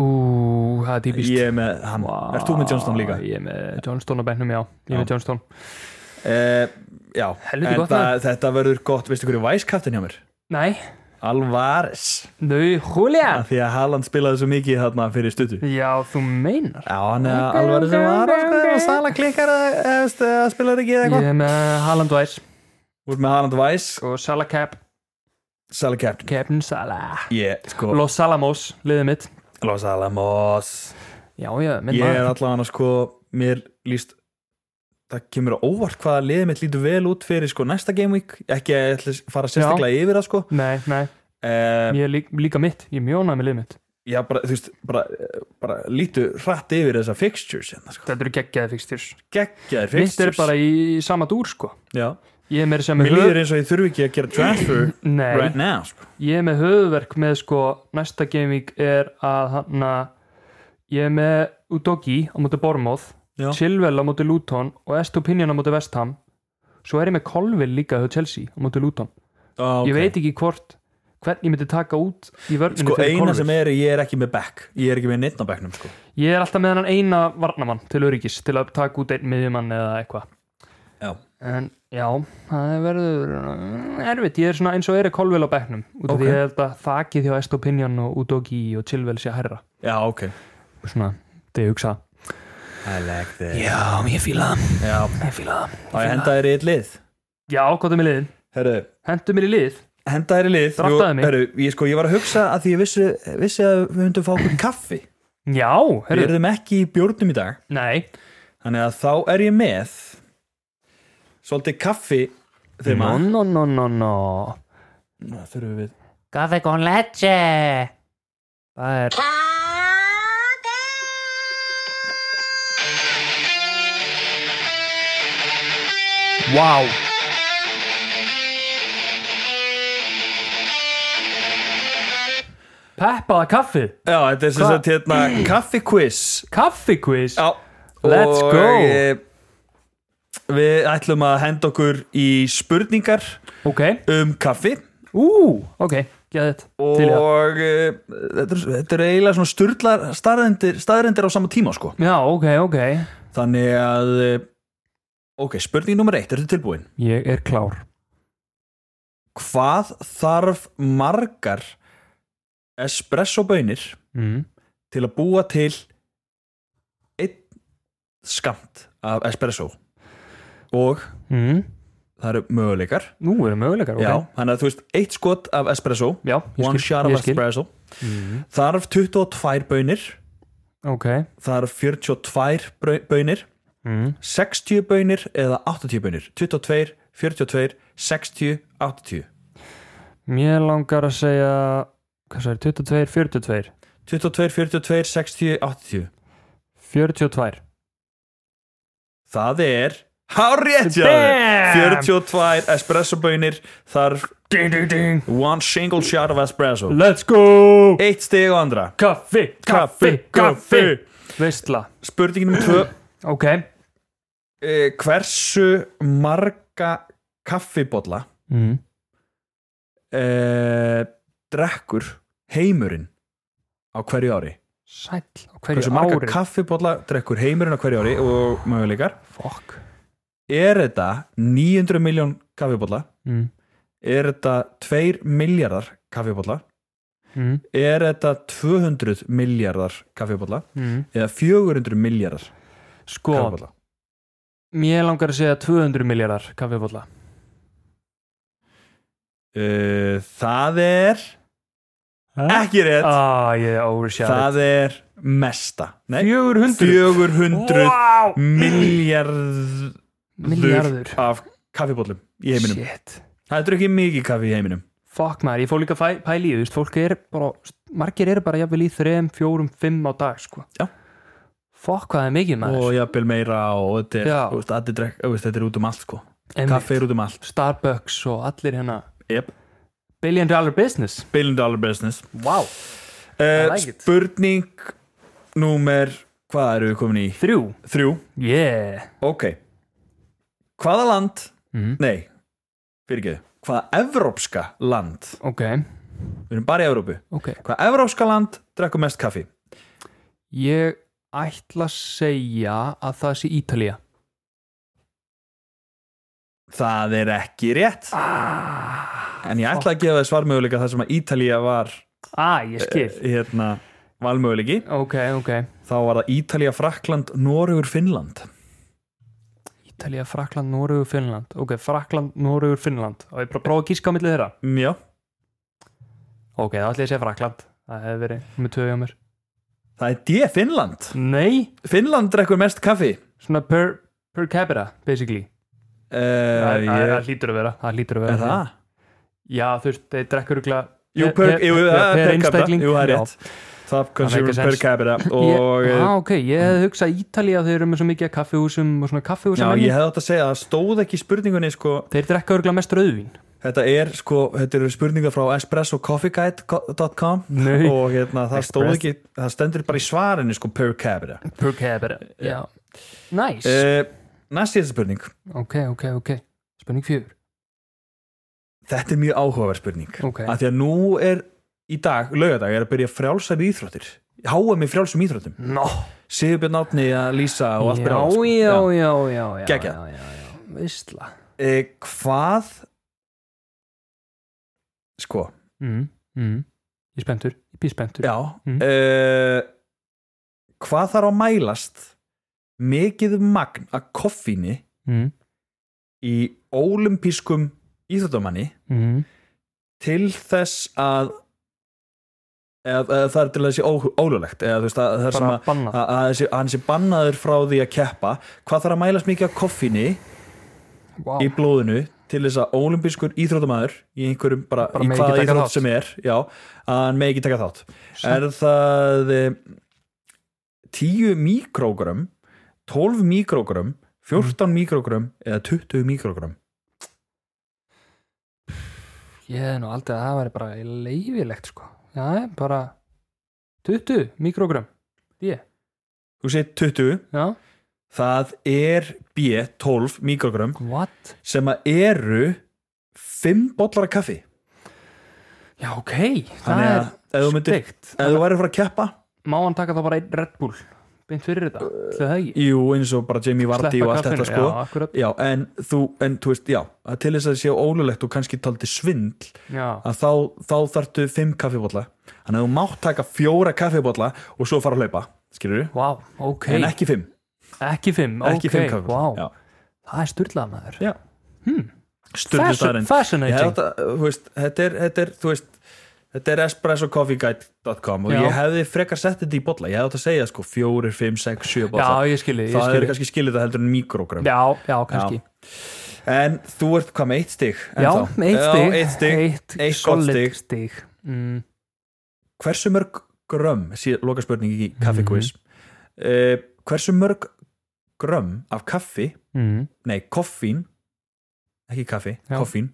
[SPEAKER 2] Ú, það er típist
[SPEAKER 1] ég er með hann, wow. ert þú með Johnston líka?
[SPEAKER 2] Ég er með Johnston á bennum, já Ég er með
[SPEAKER 1] Já.
[SPEAKER 2] Johnston
[SPEAKER 1] Eh, já,
[SPEAKER 2] Helviti
[SPEAKER 1] en
[SPEAKER 2] gott,
[SPEAKER 1] það, þetta verður gott veistu hverju væskaftin hjá mér?
[SPEAKER 2] Nei,
[SPEAKER 1] Alvarez,
[SPEAKER 2] nau, Julian
[SPEAKER 1] af því að Haaland spilaði svo mikið þarna fyrir stuttu
[SPEAKER 2] Já, þú meinar
[SPEAKER 1] Já, hann er Alvarez sem var að sala klikkar eða spilaði ekki eða
[SPEAKER 2] Ég
[SPEAKER 1] eitthvað
[SPEAKER 2] er með Haaland Weiss
[SPEAKER 1] Þú ert með Haaland Væs,
[SPEAKER 2] og Sala Cap
[SPEAKER 1] Sala Captain
[SPEAKER 2] Captain Sala
[SPEAKER 1] Ég, sko,
[SPEAKER 2] Los Alamos, liðið mitt
[SPEAKER 1] Los Alamos
[SPEAKER 2] Já, já, minn
[SPEAKER 1] Ég er
[SPEAKER 2] maður
[SPEAKER 1] allavega sko, mér líst það kemur á óvart hvaða liðið mitt lítur vel út fyrir sko næsta game week ekki að ég ætla að fara sérstaklega yfir það sko
[SPEAKER 2] Nei, nei,
[SPEAKER 1] um,
[SPEAKER 2] ég er líka, líka mitt Ég er mjónað með liðið mitt
[SPEAKER 1] já bara, þú veist, bara, bara lítu hratt yfir þessa fixtures hérna sko,
[SPEAKER 2] Þetta eru geggjaði fixtures
[SPEAKER 1] geggjaðir
[SPEAKER 2] Mitt er
[SPEAKER 1] fixtures
[SPEAKER 2] bara í sama dúr, sko
[SPEAKER 1] já,
[SPEAKER 2] Ég er með sem
[SPEAKER 1] mér líður eins og ég þurfi ekki að gera transfer
[SPEAKER 2] Nei,
[SPEAKER 1] right now sko.
[SPEAKER 2] ég er með höfuverk með sko næsta gaming er að hann að ég er með Udogi á móti Bormóð
[SPEAKER 1] Já.
[SPEAKER 2] Silvel á móti Luton og Estopinion á móti Vestham svo er ég með Colville líka hjá Chelsea á móti Luton
[SPEAKER 1] Ah,
[SPEAKER 2] ég
[SPEAKER 1] ok.
[SPEAKER 2] veit ekki hvort hvern ég myndi taka út í vörninu
[SPEAKER 1] sko
[SPEAKER 2] fyrir
[SPEAKER 1] eina sem
[SPEAKER 2] Colville
[SPEAKER 1] er, ég er ekki með back ég er ekki með neitt á backnum sko
[SPEAKER 2] ég er alltaf með hann eina varnamann til öryggis til að taka út einn miðjumann eða eitthvað
[SPEAKER 1] já,
[SPEAKER 2] en já, það verður uh, erfitt, ég er svona eins og er Colville á bekknum út af
[SPEAKER 1] Ok.
[SPEAKER 2] því ég held að þakið hjá Estopinion og Udogi og Silvel sé hærra
[SPEAKER 1] já ok
[SPEAKER 2] svona, þegar ég hugsa
[SPEAKER 1] I like that
[SPEAKER 2] Já, ég fíla það,
[SPEAKER 1] já,
[SPEAKER 2] ég fíla það
[SPEAKER 1] þá ég henda þér í eitt lið
[SPEAKER 2] Já, hvað er með liðin?
[SPEAKER 1] herru,
[SPEAKER 2] Hentu mér í lið
[SPEAKER 1] henda þér í lið
[SPEAKER 2] Draftaðu mig.
[SPEAKER 1] herru, ég, sko, ég var að hugsa að því ég vissi, vissi að við höndum fá okkur kaffi
[SPEAKER 2] Já,
[SPEAKER 1] við
[SPEAKER 2] herru,
[SPEAKER 1] erum ekki í bjórnum í dag
[SPEAKER 2] nei
[SPEAKER 1] þannig að þá er ég með svolítið kaffi þegar
[SPEAKER 2] No,
[SPEAKER 1] maður
[SPEAKER 2] no, no, no, no
[SPEAKER 1] þurfum við
[SPEAKER 2] Café con leche Það er Wow Peppaða kaffi
[SPEAKER 1] já, þetta er sem
[SPEAKER 2] Hva?
[SPEAKER 1] sagt hérna kaffi quiz
[SPEAKER 2] Kaffi quiz
[SPEAKER 1] já,
[SPEAKER 2] Let's
[SPEAKER 1] og,
[SPEAKER 2] go.
[SPEAKER 1] eh, við ætlum að henda okkur í spurningar
[SPEAKER 2] Ok,
[SPEAKER 1] um kaffi
[SPEAKER 2] ú, ok, geða þetta Til í það
[SPEAKER 1] og eh, þetta er, þetta er eiginlega svona styrlar staðrendir, staðrendir á sama tíma sko
[SPEAKER 2] Já, ok, ok
[SPEAKER 1] þannig að eh, ok, spurning nummer eitt, er þetta tilbúin?
[SPEAKER 2] Ég er klár
[SPEAKER 1] Hvað þarf margar espresso bönir
[SPEAKER 2] mm.
[SPEAKER 1] til að búa til einn skamt af espresso og
[SPEAKER 2] Mm.
[SPEAKER 1] það eru möguleikar
[SPEAKER 2] Nú eru möguleikar, ok
[SPEAKER 1] já, þannig að þú veist, eitt skot af espresso
[SPEAKER 2] Já, ég
[SPEAKER 1] one
[SPEAKER 2] skil,
[SPEAKER 1] shot of
[SPEAKER 2] ég skil. Mhm.
[SPEAKER 1] espresso þarf 22 bönir
[SPEAKER 2] Ok
[SPEAKER 1] þarf 42 brau- bönir
[SPEAKER 2] mm.
[SPEAKER 1] 60 bönir eða 80 bönir 22, 42, 60, 80
[SPEAKER 2] Mér langar að segja Hvað sagði, 22, 42
[SPEAKER 1] 22, 42, 60, 80
[SPEAKER 2] 42
[SPEAKER 1] Það er Hárétt hjá þér
[SPEAKER 2] Damn!
[SPEAKER 1] 42 espresso bönir Þarf
[SPEAKER 2] ding, ding, ding.
[SPEAKER 1] one single shot of espresso
[SPEAKER 2] Let's go
[SPEAKER 1] Eitt stig og andra
[SPEAKER 2] Kaffi, kaffi, kaffi Veistla
[SPEAKER 1] Spurningin um tvö
[SPEAKER 2] Ok
[SPEAKER 1] eh, Hversu marga kaffibólla
[SPEAKER 2] mm.
[SPEAKER 1] eh, drekkur heimurinn á hverju ári?
[SPEAKER 2] Sæll á hverju
[SPEAKER 1] Hversu marga
[SPEAKER 2] ári
[SPEAKER 1] kaffibólla drekkur heimurinn á hverju ári og möguleikar?
[SPEAKER 2] Fuck
[SPEAKER 1] Er þetta 900 miljón kaffibólla?
[SPEAKER 2] mm.
[SPEAKER 1] Er þetta 2 miljardar kaffibólla?
[SPEAKER 2] Mm.
[SPEAKER 1] er þetta 200 miljardar kaffibólla
[SPEAKER 2] Mm.
[SPEAKER 1] eða 400 miljardar
[SPEAKER 2] Sko,
[SPEAKER 1] kaffibólla
[SPEAKER 2] mér langar að segja 200 miljardar kaffibólla
[SPEAKER 1] uh, það er ekki rétt
[SPEAKER 2] Ah, ég overshot
[SPEAKER 1] það er mesta Nei,
[SPEAKER 2] 400
[SPEAKER 1] 400
[SPEAKER 2] wow.
[SPEAKER 1] miljard
[SPEAKER 2] Miljarður
[SPEAKER 1] af kaffibóllum í heiminum
[SPEAKER 2] Shit
[SPEAKER 1] það er ekki mikið kaffi í heiminum
[SPEAKER 2] Fuck maður, ég fór líka að fæ- pæla í því, þú veist, fólk er bara, margir eru bara jafnvel í þrem, fjórum, fimm á dag, sko.
[SPEAKER 1] Já.
[SPEAKER 2] Fuck hvað það er mikið maður.
[SPEAKER 1] og jafnvel meira og þetta er,
[SPEAKER 2] Já.
[SPEAKER 1] þú veist, allir drekk- þú veist, þetta er út um allt sko.
[SPEAKER 2] Einmitt.
[SPEAKER 1] kaffi er út um allt
[SPEAKER 2] Starbucks og allir hérna.
[SPEAKER 1] yep.
[SPEAKER 2] Billion dollar business.
[SPEAKER 1] billion dollar business
[SPEAKER 2] Wow.
[SPEAKER 1] uh,
[SPEAKER 2] like it.
[SPEAKER 1] spurning númer hvað eru við komin í?
[SPEAKER 2] Þrjú.
[SPEAKER 1] þrjú
[SPEAKER 2] Yeah.
[SPEAKER 1] Ok hvaða land
[SPEAKER 2] Mhm.
[SPEAKER 1] nei, fyrir hvaða evrópska land
[SPEAKER 2] ok,
[SPEAKER 1] við erum bara í Evrópu
[SPEAKER 2] ok
[SPEAKER 1] hvaða evrópska land drekkum mest kaffi
[SPEAKER 2] Ég ætla að segja að það sé Ítalía
[SPEAKER 1] það er ekki rétt en ég ætla að gefa þið svarmöguleika þar sem að Ítalía var
[SPEAKER 2] Ah, ég skil
[SPEAKER 1] hérna, valmöguleiki
[SPEAKER 2] Eh, Ok, ok
[SPEAKER 1] þá var það Ítalía, Frakland, Noregur, Finnland
[SPEAKER 2] Ítalía, Frakland, Noregur, Finnland Ok, Frakland, Noregur, Finnland Og ég bara prófa að kíska á milli þeirra
[SPEAKER 1] Mm, já,
[SPEAKER 2] Ok, þá ætla ég að segja Frakland Það hefði verið með tvö hjá mér
[SPEAKER 1] það er D, Finnland
[SPEAKER 2] Nei,
[SPEAKER 1] Finnland drekkur mest kaffi Eh,
[SPEAKER 2] svona per, per capita, basically
[SPEAKER 1] uh,
[SPEAKER 2] Það það-
[SPEAKER 1] ég,
[SPEAKER 2] það hlýtur að vera Það hlýtur
[SPEAKER 1] er
[SPEAKER 2] að vera
[SPEAKER 1] það?
[SPEAKER 2] Já, þú veist, þeir drekkur ykla
[SPEAKER 1] Jú, per, jú, það er per capita Jú, það er rétt Top
[SPEAKER 2] makes
[SPEAKER 1] consumers per
[SPEAKER 2] sense.
[SPEAKER 1] capita
[SPEAKER 2] Og,
[SPEAKER 1] og
[SPEAKER 2] já,
[SPEAKER 1] eh,
[SPEAKER 2] ok, ég hefði hugsað Ítalía þeir eru með svo mikið af kaffihúsum og svona kaffihúsum
[SPEAKER 1] Já, ég hefði átt að segja að það stóð ekki í spurningunni sko,
[SPEAKER 2] Þeir drekka örgulega mest rauðvín
[SPEAKER 1] þetta er sko, þetta eru spurningar frá espressocoffeeguide.com
[SPEAKER 2] Nei.
[SPEAKER 1] og hérna, það stóð
[SPEAKER 2] Express.
[SPEAKER 1] ekki það stendur bara í svarinu sko per capita
[SPEAKER 2] Per capita
[SPEAKER 1] Eh.
[SPEAKER 2] Já, næs
[SPEAKER 1] uh, Næst ég þetta spurning
[SPEAKER 2] Ok, ok, ok Spenning fjör
[SPEAKER 1] Þetta er mjög áhugaverð spurning
[SPEAKER 2] Ok.
[SPEAKER 1] að því að nú er í dag, laugardag er að byrja frjálsar íþróttir háum í frjálsum íþróttum
[SPEAKER 2] Nó
[SPEAKER 1] Sigurbjörn Átni að lýsa og allt
[SPEAKER 2] já,
[SPEAKER 1] byrjað, sko.
[SPEAKER 2] já, já, já, já
[SPEAKER 1] Geggjað.
[SPEAKER 2] já, já, já. Visla
[SPEAKER 1] Eh, Hvað Sko
[SPEAKER 2] mm, mm. Ég er spenntur, ég býð spenntur
[SPEAKER 1] Já
[SPEAKER 2] Mm.
[SPEAKER 1] eh, Hvað þarf að mælast mikið magn að koffíni
[SPEAKER 2] mm,
[SPEAKER 1] í ólimpískum íþróttamanni
[SPEAKER 2] mm.
[SPEAKER 1] til þess að eða, eða það er til að þessi ólulegt eða þú veist að, það sem
[SPEAKER 2] Bara
[SPEAKER 1] að,
[SPEAKER 2] bannað.
[SPEAKER 1] að, að þessi, hann sé bannaður frá því að keppa hvað þarf að mælast mikið að koffíni
[SPEAKER 2] Wow.
[SPEAKER 1] í blóðinu til þess að ólimpískur íþróttamæður í einhverjum bara,
[SPEAKER 2] Bara
[SPEAKER 1] í
[SPEAKER 2] megi
[SPEAKER 1] hvaða
[SPEAKER 2] ekki taka
[SPEAKER 1] íþrótt
[SPEAKER 2] þátt.
[SPEAKER 1] sem er já, að hann megi ekki taka þátt er það eh, 10 mikrógram 12 mikrógram
[SPEAKER 2] Mhm.
[SPEAKER 1] 14 mikrógram eða 20 mikrógram
[SPEAKER 2] Ég hef nú aldrei að það væri bara leifilegt sko Já, bara 20 mikrogram Ég,
[SPEAKER 1] þú segir 20,
[SPEAKER 2] já
[SPEAKER 1] það er B 12 mikrógram
[SPEAKER 2] What?
[SPEAKER 1] sem að eru 5 bollar af kaffi
[SPEAKER 2] Já, ok Það
[SPEAKER 1] Þannig að
[SPEAKER 2] er
[SPEAKER 1] ef þú myndir-
[SPEAKER 2] steikt
[SPEAKER 1] ef þú væri að fara að keppa,
[SPEAKER 2] Má hann taka þá bara einn Red Bull Beint fyrir þetta, ætli það ekki
[SPEAKER 1] jú eins og bara Jamie Vardy og allt
[SPEAKER 2] kaffinu,
[SPEAKER 1] þetta sko
[SPEAKER 2] Já, akkurat
[SPEAKER 1] Já, en þú, en þú veist, já að til þess að það sé ólulegt og kannski taldi svindl
[SPEAKER 2] Já,
[SPEAKER 1] að þá, þá þarftu fimm kaffibólla þannig að þú mátt taka fjóra kaffibólla og svo fara að hlaupa, skilur við
[SPEAKER 2] wow, ok
[SPEAKER 1] en ekki fimm,
[SPEAKER 2] Ekki fimm,
[SPEAKER 1] ekki
[SPEAKER 2] ok,
[SPEAKER 1] fimm kaffibólla
[SPEAKER 2] wow. Það er styrlað maður
[SPEAKER 1] Já, já. Sturlu
[SPEAKER 2] Fascin-
[SPEAKER 1] staðreynd.
[SPEAKER 2] fascinating.
[SPEAKER 1] Ég hef þetta, þú veist, þetta er, þetta er, þú veist Þetta er espressocoffeeguide.com og
[SPEAKER 2] Já.
[SPEAKER 1] ég hefði frekar sett þetta í bolla ég hefði átt að segja sko fjórir, fimm, sex, sjö bolla
[SPEAKER 2] Já, ég skil þig, ég
[SPEAKER 1] það
[SPEAKER 2] skil
[SPEAKER 1] er
[SPEAKER 2] þig.
[SPEAKER 1] kannski skilið það heldur en mikrogram
[SPEAKER 2] Já, já, kannski
[SPEAKER 1] Já. en þú ert hvað með eitt stig
[SPEAKER 2] Já,
[SPEAKER 1] ennþá?
[SPEAKER 2] eitt stig
[SPEAKER 1] eitt stig,
[SPEAKER 2] Eitt,
[SPEAKER 1] eitt gott
[SPEAKER 2] solid
[SPEAKER 1] stig.
[SPEAKER 2] stig, Mm,
[SPEAKER 1] hversu mörg grömm síðan loka spurning í kaffi quiz
[SPEAKER 2] Mhm.
[SPEAKER 1] uh, hversu mörg grömm af kaffi
[SPEAKER 2] mm,
[SPEAKER 1] nei, koffín ekki kaffi,
[SPEAKER 2] Já.
[SPEAKER 1] koffín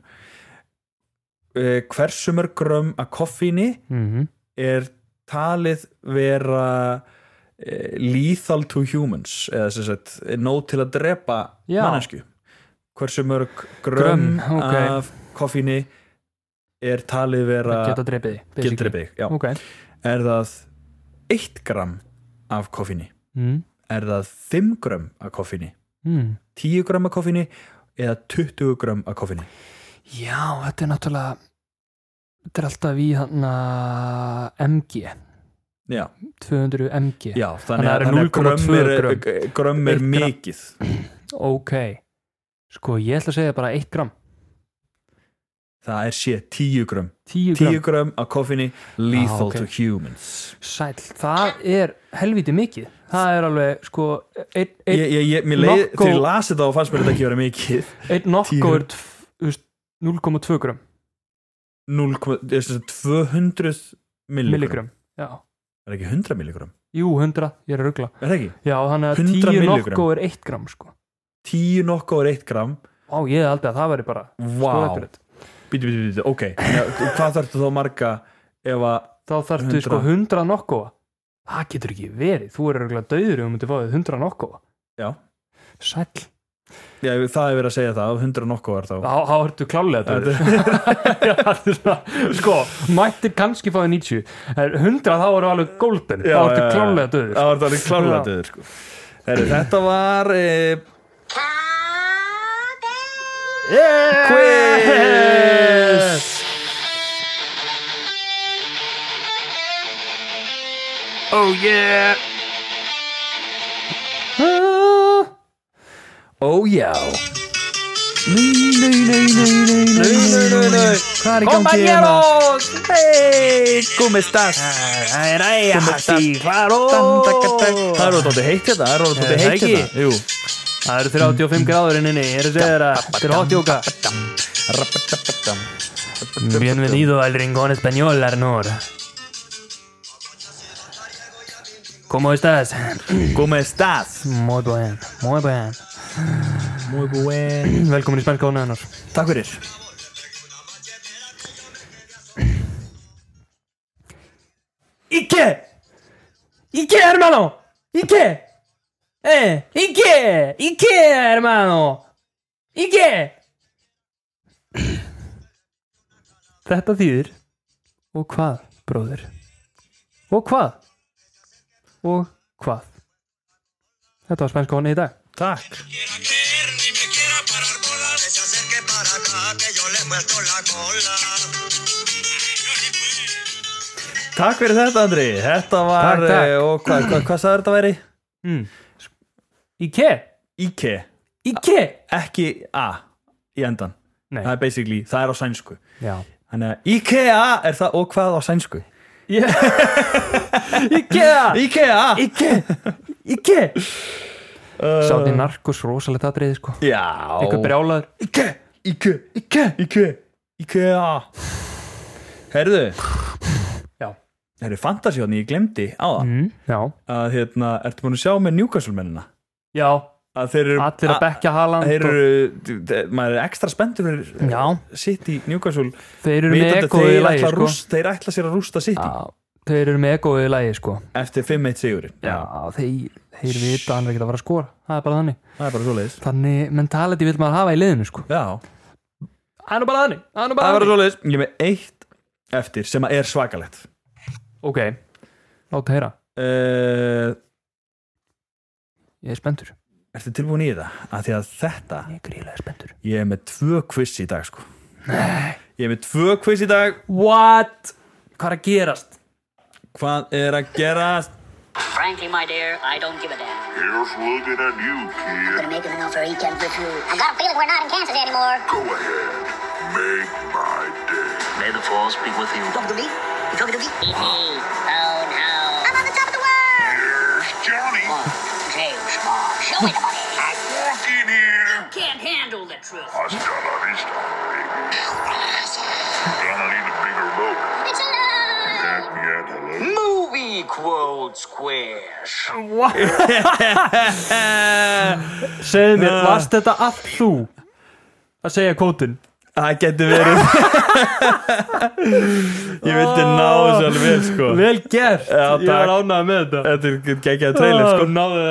[SPEAKER 1] uh, hversu mörg grömm af koffíni
[SPEAKER 2] mm,
[SPEAKER 1] er talið vera uh, lethal to humans eða sem sagt, nóg til að drepa
[SPEAKER 2] Já.
[SPEAKER 1] mannesku hversu mörg grömm,
[SPEAKER 2] Grömm, ok.
[SPEAKER 1] af koffíni er talið vera
[SPEAKER 2] Geta drepið þig,
[SPEAKER 1] geta
[SPEAKER 2] basically.
[SPEAKER 1] drepið, já
[SPEAKER 2] Ok
[SPEAKER 1] er það 1 gram af koffíni
[SPEAKER 2] mm,
[SPEAKER 1] er það 5 gram af koffíni
[SPEAKER 2] mm.
[SPEAKER 1] 10 gram af koffíni eða 20 gram af koffíni
[SPEAKER 2] Já, þetta er náttúrulega Þetta er alltaf í hann MG
[SPEAKER 1] já,
[SPEAKER 2] 200 MG
[SPEAKER 1] já þannig
[SPEAKER 2] Þannig að
[SPEAKER 1] að,
[SPEAKER 2] það
[SPEAKER 1] þannig
[SPEAKER 2] eru
[SPEAKER 1] að grömm
[SPEAKER 2] 0,2
[SPEAKER 1] er,
[SPEAKER 2] grömm.
[SPEAKER 1] grömm. grömm er
[SPEAKER 2] Eitt gram.
[SPEAKER 1] mikið
[SPEAKER 2] Ok Sko, ég ætla að segja bara 1 gram
[SPEAKER 1] það er sé 10 gram
[SPEAKER 2] 10 gram
[SPEAKER 1] 10 gram af koffíni lethal
[SPEAKER 2] Ah, ok.
[SPEAKER 1] to humans
[SPEAKER 2] Sæl, það er helviti mikið Það er alveg, sko Einn ein,
[SPEAKER 1] ég, ég, ég, mér leið,
[SPEAKER 2] Nokko-
[SPEAKER 1] til ég lasi þetta og fannst mér þetta ekki vera mikið
[SPEAKER 2] ein nokko er tf- þú veist, 0,2 gram
[SPEAKER 1] 0, ég sem sagt 200 milligram,
[SPEAKER 2] milligram Já,
[SPEAKER 1] er það ekki 100 milligram
[SPEAKER 2] jú, 100, ég er að ruggla
[SPEAKER 1] er það ekki,
[SPEAKER 2] Já, þannig að
[SPEAKER 1] 100
[SPEAKER 2] 10
[SPEAKER 1] milligram.
[SPEAKER 2] nokko er 1 gram, sko
[SPEAKER 1] 10 nokko er 1 gram
[SPEAKER 2] Á, ég hef aldrei að það væri bara sko,
[SPEAKER 1] Vá.
[SPEAKER 2] skoðakrið.
[SPEAKER 1] Bíti, bíti, bíti, ok Já, Hvað þarftu þá marga ef að
[SPEAKER 2] Þá þarftu
[SPEAKER 1] 100.
[SPEAKER 2] sko 100 nokko Það getur ekki verið, þú er ruggla döður um þetta fáið 100 nokko
[SPEAKER 1] Já,
[SPEAKER 2] Sæll
[SPEAKER 1] Já, það er verið að segja það, hundra nokkuðar þá
[SPEAKER 2] þá Ah, þá ertu klálega þetta sko, mættir kannski fáið 90 En 100 þá eru alveg golden þá ertu klálega döður
[SPEAKER 1] Já, þá ertu alveg klárlega
[SPEAKER 2] sko. Já.
[SPEAKER 1] döður sko. Heru, Þetta var e, Quiz
[SPEAKER 2] Ah. Oh,
[SPEAKER 1] Ó já Nei, nei, nei, nei, nei, nei, nei, nei, nei Hvað er í gangi hérna? Hei, komi stas Það er orðið heitt hérna, það er orðið
[SPEAKER 2] það
[SPEAKER 1] heitt
[SPEAKER 2] ekki?
[SPEAKER 1] hérna Jú
[SPEAKER 2] það eru 35 gráður inn inni ég er að segja þér að þetta er hotjóka Bienvenido al rincón español, Arnur. ¿Cómo estás?
[SPEAKER 1] Komi stas
[SPEAKER 2] Muy bien, muy bien.
[SPEAKER 1] Muy buen
[SPEAKER 2] Velkomin í spennskóna hennar.
[SPEAKER 1] Takk fyrir
[SPEAKER 2] ¿Y qué? ¿Y qué, hermano? ¿Y qué? ¿Eh? ¿Y qué? ¿Y qué, hermano? ¿Y qué? Þetta þýðir Og hvað, bróðir? Og hvað? Og hvað? Þetta var spænska honni í dag
[SPEAKER 1] Takk
[SPEAKER 6] ni me quiera parar bolas. Que se acerque para acá, que yo le muestro la cola.
[SPEAKER 1] Takk fyrir þetta Andri Þetta var
[SPEAKER 2] Takk, takk.
[SPEAKER 1] eh, Og hvað hva, hva sagði þetta væri?
[SPEAKER 2] mm. Í ke?
[SPEAKER 1] Ike
[SPEAKER 2] Í ke?
[SPEAKER 1] Ekki A Í endan
[SPEAKER 2] Nei,
[SPEAKER 1] Það er basically Það er á sænsku
[SPEAKER 2] já
[SPEAKER 1] Þannig að IKEA er það og hvað á sænsku?
[SPEAKER 2] Í ke?
[SPEAKER 1] IKEA!
[SPEAKER 2] Í ke? Í ke?
[SPEAKER 1] Uh.
[SPEAKER 2] Sátt í narkos rosalegt aðriði sko
[SPEAKER 1] Já
[SPEAKER 2] Eitthvað brjálaður
[SPEAKER 1] Ike, Ike, Ike, Ike, Ikea Herðu
[SPEAKER 2] Já.
[SPEAKER 1] Herðu, fantasíóni, hérna, ég glemdi á það
[SPEAKER 2] mm, Já,
[SPEAKER 1] að hérna, ertu búin að sjá með Newcastle-mennina
[SPEAKER 2] já
[SPEAKER 1] að þeir eru
[SPEAKER 2] Allir að bekka Haaland
[SPEAKER 1] þeir
[SPEAKER 2] og-
[SPEAKER 1] eru, de- maður er ekstra spenntur fyrir
[SPEAKER 2] Já,
[SPEAKER 1] sitt í Newcastle
[SPEAKER 2] þeir eru með
[SPEAKER 1] vitandi að
[SPEAKER 2] ekoðu í
[SPEAKER 1] þeir
[SPEAKER 2] lagi
[SPEAKER 1] ætla, að
[SPEAKER 2] sko
[SPEAKER 1] rústa, þeir ætla sér að rústa sitt
[SPEAKER 2] Já, þeir eru með ekoðu í lagi sko
[SPEAKER 1] eftir 5-1 sigurinn
[SPEAKER 2] Já, þeir, þeir vita að hann er ekkert að fara að skora Það er bara þannig
[SPEAKER 1] það er bara svo leiðis
[SPEAKER 2] Þannig mentality vil maður hafa í liðinu sko
[SPEAKER 1] Já,
[SPEAKER 2] Það er nú bara þannig Það er nú
[SPEAKER 1] það
[SPEAKER 2] bara
[SPEAKER 1] var
[SPEAKER 2] þannig
[SPEAKER 1] svo leiðis Ég er með eitt eftir sem að er svakalegt
[SPEAKER 2] Ok, láta heyra
[SPEAKER 1] uh,
[SPEAKER 2] Ég er spendur
[SPEAKER 1] Ertu tilbúin í þetta? Að því að þetta,
[SPEAKER 2] Ég er gríðlega spendur
[SPEAKER 1] ég er með tvö quiz í dag sko Ég er með tvö quiz í dag
[SPEAKER 2] What? Hvað er að gerast?
[SPEAKER 1] Hvað er að gerast?
[SPEAKER 7] Frankly, my dear, I don't give a damn.
[SPEAKER 3] Here's looking at you, kid.
[SPEAKER 7] Gonna make him an offer he can't refuse.
[SPEAKER 8] I got a feeling we're not in Kansas anymore.
[SPEAKER 3] Go ahead. Make my day.
[SPEAKER 5] May the force be with you.
[SPEAKER 7] Talking to me? You talking to me? Easy. Oh,
[SPEAKER 8] I'm on the top of the world!
[SPEAKER 3] Here's Johnny.
[SPEAKER 7] no. James Bond. Show me the money.
[SPEAKER 3] I'm walking here.
[SPEAKER 7] Can't handle the truth.
[SPEAKER 3] Hasta la vista, baby. Gonna need a bigger boat.
[SPEAKER 8] It's a lie!
[SPEAKER 3] Back me at hello.
[SPEAKER 5] Movie quote squash.
[SPEAKER 2] Segðu mér,
[SPEAKER 1] Ah.
[SPEAKER 2] varst þetta allt þú að segja kvótinn?
[SPEAKER 1] Það getur verið Ég vildi ná þessu alveg vel sko
[SPEAKER 2] Vel gert,
[SPEAKER 1] Já,
[SPEAKER 2] ég var
[SPEAKER 1] takk.
[SPEAKER 2] ánægð með þetta Ah.
[SPEAKER 1] Þetta er geggjað trailer sko
[SPEAKER 2] Náður,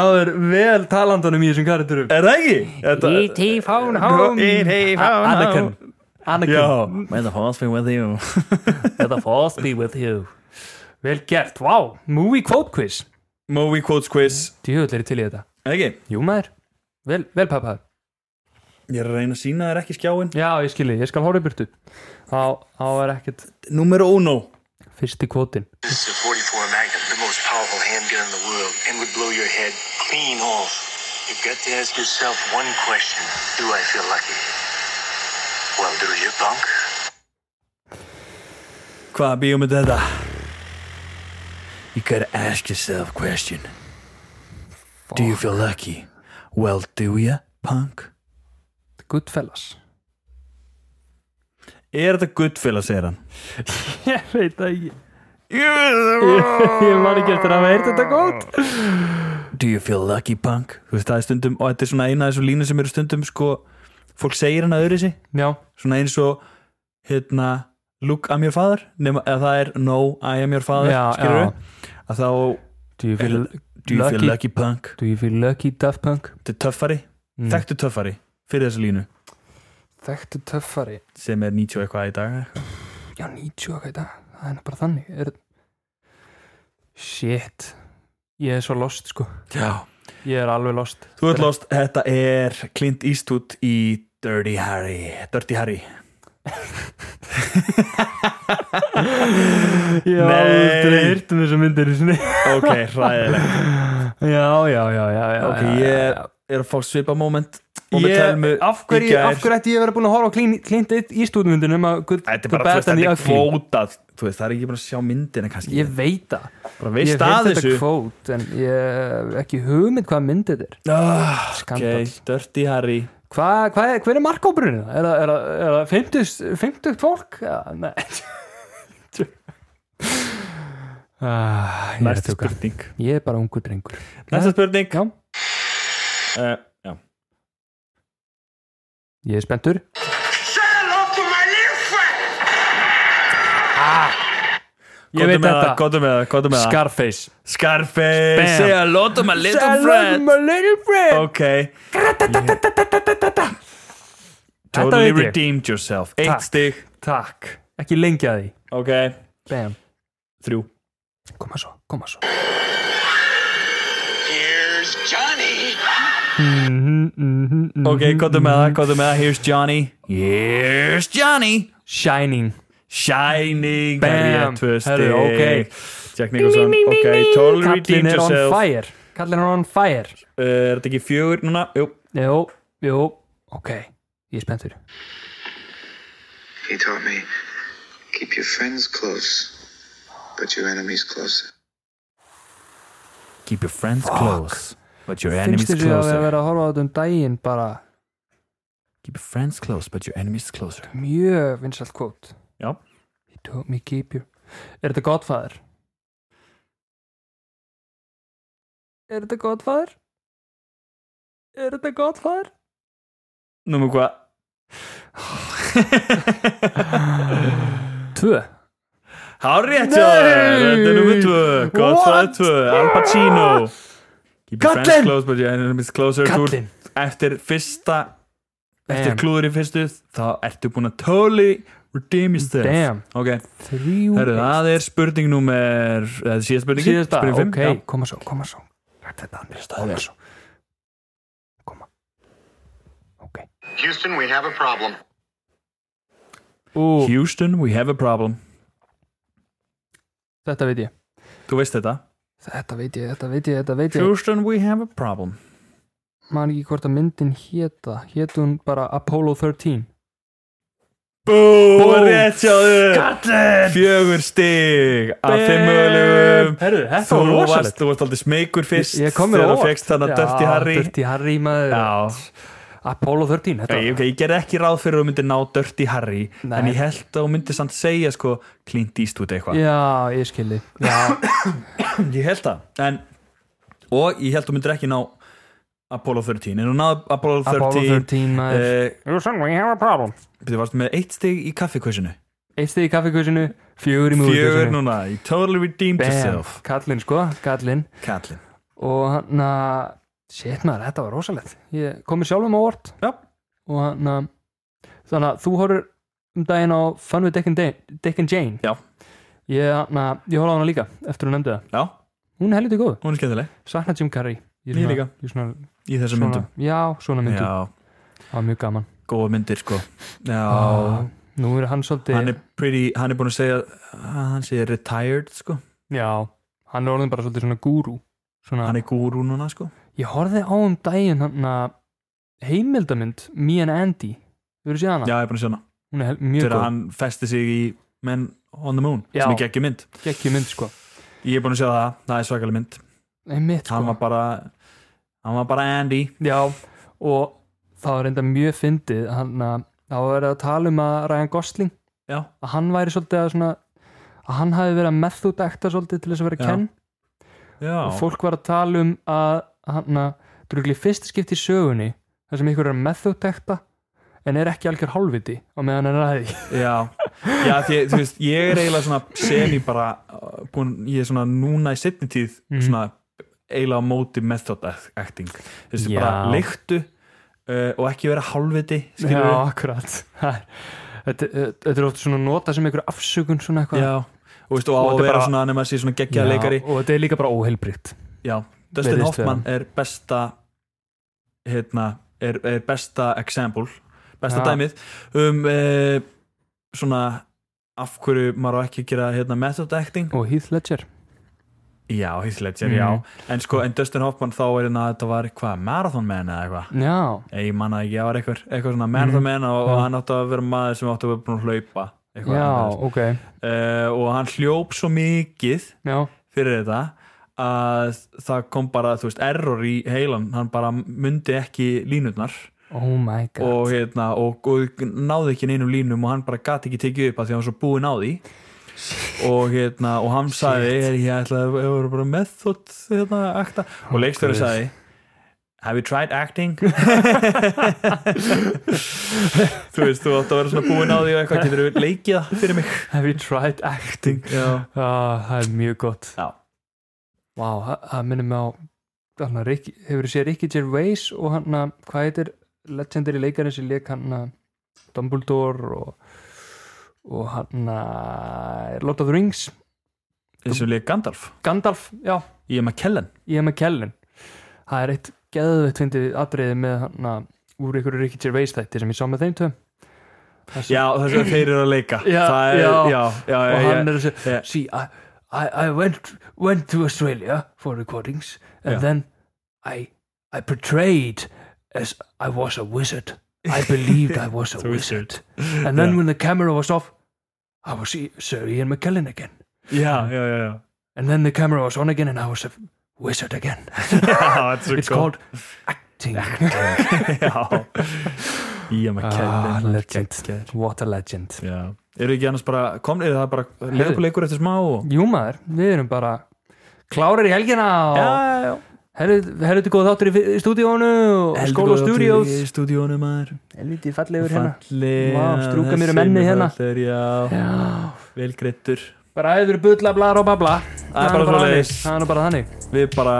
[SPEAKER 2] náður vel talandunum í þessum karakterum
[SPEAKER 1] Er það ekki? Þetta,
[SPEAKER 2] E.T. phone home
[SPEAKER 1] E.T. phone
[SPEAKER 2] Anakin
[SPEAKER 1] home.
[SPEAKER 2] Anakin
[SPEAKER 1] Já May the force be with you
[SPEAKER 2] The force be with you Vel gert, wow, movie quote quiz
[SPEAKER 1] Movie quotes quiz
[SPEAKER 2] Djöfull er ég til í þetta
[SPEAKER 1] Er það Ekki?
[SPEAKER 2] Jú maður, vel, vel pappaður
[SPEAKER 1] Ég er að reyna að sína þér ekki skjáin
[SPEAKER 2] Já, ég skilji, ég skal horfa í burtu Þá, þá er ekkert
[SPEAKER 1] Número uno
[SPEAKER 2] fyrsti kvótin
[SPEAKER 9] This is a 44 Magnum, the most powerful handgun in the world, and would blow your head clean off. You've got to ask yourself one question Do I feel lucky? Well, do you, punk?
[SPEAKER 1] Hvaða bíómynd er þetta? You gotta ask yourself a question Do you feel lucky? Well, do ya, punk?
[SPEAKER 2] Goodfellas
[SPEAKER 1] Er þetta guttfélag, segir hann
[SPEAKER 2] Ég veit það ekki Ég man ekki eftir að veit þetta gott
[SPEAKER 1] Do you feel lucky, punk? Þú veist, það er stundum, og þetta er svona eina af þessum línu sem eru stundum, sko Fólk segir hann að öðru sig
[SPEAKER 2] Já,
[SPEAKER 1] Svona eins og, hérna Look, I'm your father nema, Eða það er No, I am your father
[SPEAKER 2] Já,
[SPEAKER 1] Skilur
[SPEAKER 2] já.
[SPEAKER 1] við Að þá
[SPEAKER 2] do you feel
[SPEAKER 1] Do you feel
[SPEAKER 2] Lucky.
[SPEAKER 1] lucky, punk?
[SPEAKER 2] Do you feel lucky, Daft Punk?
[SPEAKER 1] Þetta er töffari
[SPEAKER 2] Mm.
[SPEAKER 1] þekktu töffari fyrir þessa línu
[SPEAKER 2] Þekktu töffari
[SPEAKER 1] sem er 90 og eitthvað í dag
[SPEAKER 2] Já, 90 og hvað í dag Það er nú bara þannig er... Shit Ég er svo lost sko
[SPEAKER 1] Já.
[SPEAKER 2] Ég er alveg lost
[SPEAKER 1] Þú ert lost, þetta er Clint Eastwood í Dirty Harry Dirty Harry
[SPEAKER 2] Já,
[SPEAKER 1] Nei.
[SPEAKER 2] þú hirtum þessu myndir í sinni
[SPEAKER 1] Ok, hræðileg
[SPEAKER 2] Já, já, já, já, já
[SPEAKER 1] Ok,
[SPEAKER 2] já,
[SPEAKER 1] ég
[SPEAKER 2] já.
[SPEAKER 1] er að fá svipa moment og með telmu
[SPEAKER 2] Ég, af, hverju,
[SPEAKER 1] í gær.
[SPEAKER 2] af hverju ætti ég að vera búin að horfa á Clint- Clint Eastwood myndunum
[SPEAKER 1] Þetta er bara, þú veist, þetta er kvótað Þú veist, það er ekki bara að sjá myndina kannski
[SPEAKER 2] Ég veit það
[SPEAKER 1] bara
[SPEAKER 2] Ég
[SPEAKER 1] veist
[SPEAKER 2] hef heyrt
[SPEAKER 1] að
[SPEAKER 2] þetta
[SPEAKER 1] þessu
[SPEAKER 2] kvót En ég hef ekki hugmynd hvað mynd þetta er
[SPEAKER 1] Ah, Ok,
[SPEAKER 2] Skandal
[SPEAKER 1] Dirty Harry
[SPEAKER 2] Hva, hva, Hver er markkópurinn? Er það- er það- er það 50 50 fólk? Ja, nei ah, ég, er að
[SPEAKER 1] Næsta
[SPEAKER 2] djóka.
[SPEAKER 1] spurning
[SPEAKER 2] ég er bara ungu drengur
[SPEAKER 1] Næsta spurning
[SPEAKER 2] Já.
[SPEAKER 1] Eh, já.
[SPEAKER 2] Ég er spenntur
[SPEAKER 6] Say hello to my little friend.
[SPEAKER 2] Ég veit þetta
[SPEAKER 1] Góðum Ah. með það, góðum með það
[SPEAKER 2] Scarface
[SPEAKER 1] Scarface
[SPEAKER 2] Bam.
[SPEAKER 1] Say hello to my little friend
[SPEAKER 2] my little friend
[SPEAKER 1] Ok Totally
[SPEAKER 2] Þetta veit ég
[SPEAKER 1] redeemed yourself Eitt
[SPEAKER 2] Takk.
[SPEAKER 1] stig
[SPEAKER 2] Takk Ekki lengja því
[SPEAKER 1] Ok
[SPEAKER 2] Bam
[SPEAKER 1] Þrjú
[SPEAKER 2] Koma svo, koma svo
[SPEAKER 6] Here's Johnny.
[SPEAKER 1] Ok, góðum með það, góðum með það Here's Johnny Here's Johnny
[SPEAKER 2] Shining
[SPEAKER 1] Shining
[SPEAKER 2] Bam.
[SPEAKER 1] Herri, tvö
[SPEAKER 2] Herru,
[SPEAKER 1] stig
[SPEAKER 2] ok.
[SPEAKER 1] Jack Nicholson Ok, totally
[SPEAKER 2] Kallin
[SPEAKER 1] redeemed
[SPEAKER 2] er on
[SPEAKER 1] yourself
[SPEAKER 2] fire Kallin er on fire
[SPEAKER 1] Uh, Er þetta ekki fjögur núna? Jú
[SPEAKER 2] Jú, jú Ok, ég er spenntur
[SPEAKER 9] He taught me keep your friends close, but your enemies closer.
[SPEAKER 1] Keep your friends close But your enemies
[SPEAKER 2] Finnst þér að
[SPEAKER 1] closer
[SPEAKER 2] vera að horfa á þetta um daginn bara
[SPEAKER 1] Keep your friends close But your enemies closer
[SPEAKER 2] mjög vinsalt kvót
[SPEAKER 1] Já.
[SPEAKER 2] He told me keep you Er þetta Godfather? Er þetta Godfather? Er þetta Godfather?
[SPEAKER 1] Númer hvað?
[SPEAKER 2] Tvö
[SPEAKER 1] Hár rétt
[SPEAKER 2] Nei!
[SPEAKER 1] hjá þér Þetta er nummer 2 Gott það er
[SPEAKER 2] What?
[SPEAKER 1] 2 Al Pacino Keep your friends
[SPEAKER 2] Kallinn!
[SPEAKER 1] close But your enemies closer Þú ert-
[SPEAKER 2] Kallinn.
[SPEAKER 1] Eftir fyrsta Eftir
[SPEAKER 2] Damn.
[SPEAKER 1] klúður í fyrstu Þá ertu búin að totally Redeem yourself
[SPEAKER 2] Damn.
[SPEAKER 1] Ok
[SPEAKER 2] Þrjú
[SPEAKER 1] Herru, það er spurning nummer Það er síðast spurning
[SPEAKER 2] Síðasta, ok, koma svo, koma svo Rætt þetta andri
[SPEAKER 1] Koma
[SPEAKER 2] staðar Koma Ok
[SPEAKER 6] Houston, we have a problem.
[SPEAKER 2] Ú,
[SPEAKER 1] Houston, we have a problem
[SPEAKER 2] þetta veit ég
[SPEAKER 1] Þú veist þetta
[SPEAKER 2] Þetta veit ég, þetta veit ég, þetta veit ég
[SPEAKER 1] Houston, we have a problem
[SPEAKER 2] Man ekki hvort að myndin héta Hét hún bara Apollo 13
[SPEAKER 1] Bú, rétt hjá þér Fjögur stig Af fimm mögulegum
[SPEAKER 2] Herru, þetta
[SPEAKER 1] Þú
[SPEAKER 2] var
[SPEAKER 1] varst,
[SPEAKER 2] rosalegt
[SPEAKER 1] þú varst aldrei smeykur fyrst
[SPEAKER 2] Ég kom mér á
[SPEAKER 1] þegar þú
[SPEAKER 2] óvart.
[SPEAKER 1] fegst þannig
[SPEAKER 2] Já,
[SPEAKER 1] Dirty Harry
[SPEAKER 2] Dirty Harry maður
[SPEAKER 1] Já,
[SPEAKER 2] Apollo 13, þetta
[SPEAKER 1] ég, okay, ég gerði ekki ráð fyrir að þú myndir ná Dirty Harry
[SPEAKER 2] Nei.
[SPEAKER 1] en ég held að þú myndir samt segja sko Clint Eastwood eitthvað
[SPEAKER 2] Já, ég skilji Já,
[SPEAKER 1] Ég held það en, og ég held að þú myndir ekki ná Apollo 13 en þú náði Apollo 13
[SPEAKER 2] Apollo 13 maður
[SPEAKER 1] uh,
[SPEAKER 2] Listen, we have a problem
[SPEAKER 1] Þú varst með eitt stig í kaffikvössinu
[SPEAKER 2] Eitt stið í kaffekusinu, fjögur í
[SPEAKER 1] Fjögur
[SPEAKER 2] múðukusinu
[SPEAKER 1] núna, you totally redeemed
[SPEAKER 2] Bam,
[SPEAKER 1] yourself
[SPEAKER 2] kallinn sko, kallinn
[SPEAKER 1] Kallinn
[SPEAKER 2] Og hann að Shit maður, þetta var rosalegt Ég kom mér sjálfum á vort
[SPEAKER 1] Já.
[SPEAKER 2] Og hann að Þannig að þú horfir um daginn á Fun with Dick and, Dane, Dick and Jane
[SPEAKER 1] Já.
[SPEAKER 2] Ég, hann að, ég horfði á hana líka Eftir hún nefndi það
[SPEAKER 1] Já,
[SPEAKER 2] Hún er helviti góð
[SPEAKER 1] hún er skemmtileg
[SPEAKER 2] Sakna Jim Carrey
[SPEAKER 1] Ég
[SPEAKER 2] svona-
[SPEAKER 1] líka.
[SPEAKER 2] Ég svona,
[SPEAKER 1] í þessum
[SPEAKER 2] svona,
[SPEAKER 1] myndum
[SPEAKER 2] já, svona myndum
[SPEAKER 1] Já,
[SPEAKER 2] Það var mjög gaman
[SPEAKER 1] góða myndir sko Já,
[SPEAKER 2] Ah. Nú er hann svolítið
[SPEAKER 1] hann er pretty, hann er búin að segja að hann sé retired sko
[SPEAKER 2] Já, hann er orðin bara svolítið svona gúrú svona,
[SPEAKER 1] hann er gúrú núna sko
[SPEAKER 2] Ég horfði á um daginn hann að heimildamynd Me and Andy Þú eru séð hana?
[SPEAKER 1] já, ég er búin að sjá hana
[SPEAKER 2] Hún er hel- mjög
[SPEAKER 1] þegar
[SPEAKER 2] góð,
[SPEAKER 1] hann festi sig í Men on the Moon
[SPEAKER 2] Já.
[SPEAKER 1] sem er geggjum mynd
[SPEAKER 2] gekk í mynd sko
[SPEAKER 1] ég er búin að sjá það, það er svakalega mynd
[SPEAKER 2] Einmitt
[SPEAKER 1] hann
[SPEAKER 2] sko
[SPEAKER 1] var bara hann var bara Andy
[SPEAKER 2] Já, og það var enda mjög fyndið hann að það var verið að tala um að Ryan Gosling
[SPEAKER 1] já,
[SPEAKER 2] að hann væri svolítið að svona að hann hafi verið að method acta svolítið til þess að vera
[SPEAKER 1] Já.
[SPEAKER 2] kenn
[SPEAKER 1] já,
[SPEAKER 2] og fólk var að tala um að hann að drugli fyrst skipti í sögunni þar sem ykkur er methotekta en er ekki algjör hálfviti og meðan er að því
[SPEAKER 1] já. já því, þú veist, ég er eiginlega svona semi bara uh, búin, ég er svona núna í setni
[SPEAKER 2] Mhm.
[SPEAKER 1] tíð svona eiginlega á móti method acting þú veist,
[SPEAKER 2] Já.
[SPEAKER 1] bara leiktu uh, og ekki vera hálfviti
[SPEAKER 2] Já,
[SPEAKER 1] skilurðu.
[SPEAKER 2] akkurat Það er- Þetta e, þetta er oft svona nota sem einhver afsökun svona eitthvað
[SPEAKER 1] Já, og veist, og á
[SPEAKER 2] Og
[SPEAKER 1] að
[SPEAKER 2] þetta er
[SPEAKER 1] vera
[SPEAKER 2] bara-
[SPEAKER 1] svona nema að sé svona
[SPEAKER 2] Já,
[SPEAKER 1] geggjaða leikari
[SPEAKER 2] og þetta er líka bara óheilbritt
[SPEAKER 1] Já, Dustin
[SPEAKER 2] Virðist
[SPEAKER 1] Hoffman er besta hérna, er, er besta example, besta
[SPEAKER 2] Já.
[SPEAKER 1] dæmið um uh, svona af hverju maður á ekki að gera hérna, method acting
[SPEAKER 2] og Heath Ledger
[SPEAKER 1] Já, Heath Ledger,
[SPEAKER 2] Mhm.
[SPEAKER 1] já en, sko, en Dustin Hoffman þá er hérna þetta var eitthvað marathon man eða eitthvað
[SPEAKER 2] Já,
[SPEAKER 1] Nei, ég manna ekki, það var eitthvað, eitthvað svona marathon man og, og
[SPEAKER 2] Mhm. Já.
[SPEAKER 1] hann átti að vera maður sem átti að vera búin að hlaupa eitthvað
[SPEAKER 2] já,
[SPEAKER 1] annað.
[SPEAKER 2] ok
[SPEAKER 1] Eh, og hann hljóp svo mikið
[SPEAKER 2] Já,
[SPEAKER 1] fyrir þetta að það kom bara, þú veist, error í heilan hann bara myndi ekki línutnar
[SPEAKER 2] oh my god
[SPEAKER 1] og, hérna, og, og náði ekki neinum línum og hann bara gati ekki tekið upp að því að hann var svo búinn á því og, hérna, og hann sagði "Hey, ég ætla að ég voru bara með þótt hérna, akta og leikstjóri
[SPEAKER 2] Guð.
[SPEAKER 1] sagði Have you tried acting? þú veist, þú átt að vera svona búinn á því og eitthvað getur við leikið það fyrir mig
[SPEAKER 2] Have you tried acting?
[SPEAKER 1] Já,
[SPEAKER 2] Ah, það er mjög gott
[SPEAKER 1] Já.
[SPEAKER 2] Vá, það- það minnir mig á hana, Ricky, Hefur þú séð Ricky Gervais og hann að, hvað heitir legendary leikarinn sem leik hann að Dumbledore og, og hann að Lord of the Rings
[SPEAKER 1] eins og leik Gandalf
[SPEAKER 2] Gandalf, já,
[SPEAKER 1] Ég er McKellen
[SPEAKER 2] ég er með kellin það er eitt geðveitt fyndið atriði með hann úr einhverju Ricky Gervais þætti sem ég sá með þeim tveim Það sem-
[SPEAKER 1] Já, þess að þeir eru að leika
[SPEAKER 2] Já,
[SPEAKER 1] Það er,
[SPEAKER 2] já.
[SPEAKER 1] já, já,
[SPEAKER 2] og
[SPEAKER 1] já,
[SPEAKER 2] hann er að segja
[SPEAKER 1] ég-
[SPEAKER 2] see, I, I, I went, went to Australia for recordings and
[SPEAKER 1] Já.
[SPEAKER 2] then I, I portrayed as I was a wizard I believed I was a wizard and then
[SPEAKER 1] Já.
[SPEAKER 2] when the camera was off I was E- Sir Ian McKellen again
[SPEAKER 1] já, já, já, já.
[SPEAKER 2] and then the camera was on again and I was a wizard again
[SPEAKER 1] Já, þetta er
[SPEAKER 2] it's
[SPEAKER 1] svo gott
[SPEAKER 2] called acting
[SPEAKER 1] Já Ég er maður
[SPEAKER 2] ah,
[SPEAKER 1] kellin
[SPEAKER 2] legend, what a legend
[SPEAKER 1] Já Eru ekki annars bara, kom, eru það bara leikur eftir smá og
[SPEAKER 2] Jú maður, við erum bara klárar í helgina og
[SPEAKER 1] Já, já,
[SPEAKER 2] helviti góð þáttur í fi- í stúdíónu og skóla og stúdíós
[SPEAKER 1] Stúdíónu maður
[SPEAKER 2] helviti fallegur hérna
[SPEAKER 1] Falli
[SPEAKER 2] Vá, strjúka mér um ennið hérna.
[SPEAKER 1] fallir, Já,
[SPEAKER 2] Já.
[SPEAKER 1] vel greittur
[SPEAKER 2] bara æður bulla blar og babla
[SPEAKER 1] Það er
[SPEAKER 2] nú
[SPEAKER 1] bara
[SPEAKER 2] þannig.
[SPEAKER 1] svoleiðis.
[SPEAKER 2] það er nú bara þannig
[SPEAKER 1] Við bara,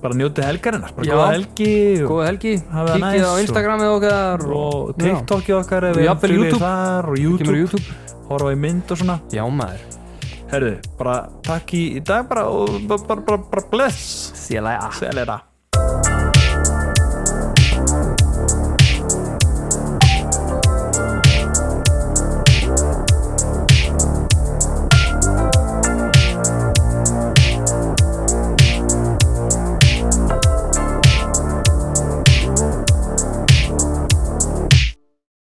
[SPEAKER 1] bara njótið helgarinnar Bara
[SPEAKER 2] Já.
[SPEAKER 1] góða helgi og-
[SPEAKER 2] góða helgi,
[SPEAKER 1] Hafið það
[SPEAKER 2] kikið
[SPEAKER 1] næs
[SPEAKER 2] á
[SPEAKER 1] og-
[SPEAKER 2] Instagramið okkar
[SPEAKER 1] og
[SPEAKER 2] Já.
[SPEAKER 1] TikTokið okkar ef
[SPEAKER 2] Og
[SPEAKER 1] við
[SPEAKER 2] jafnvel
[SPEAKER 1] fylgir
[SPEAKER 2] YouTube.
[SPEAKER 1] þar og
[SPEAKER 2] kemur
[SPEAKER 1] YouTube,
[SPEAKER 2] á YouTube
[SPEAKER 1] horfa í mynd og svona
[SPEAKER 2] já maður,
[SPEAKER 1] herðu, bara takk í, í dag bara og bara, bara, bara bless
[SPEAKER 2] sérlega
[SPEAKER 1] selera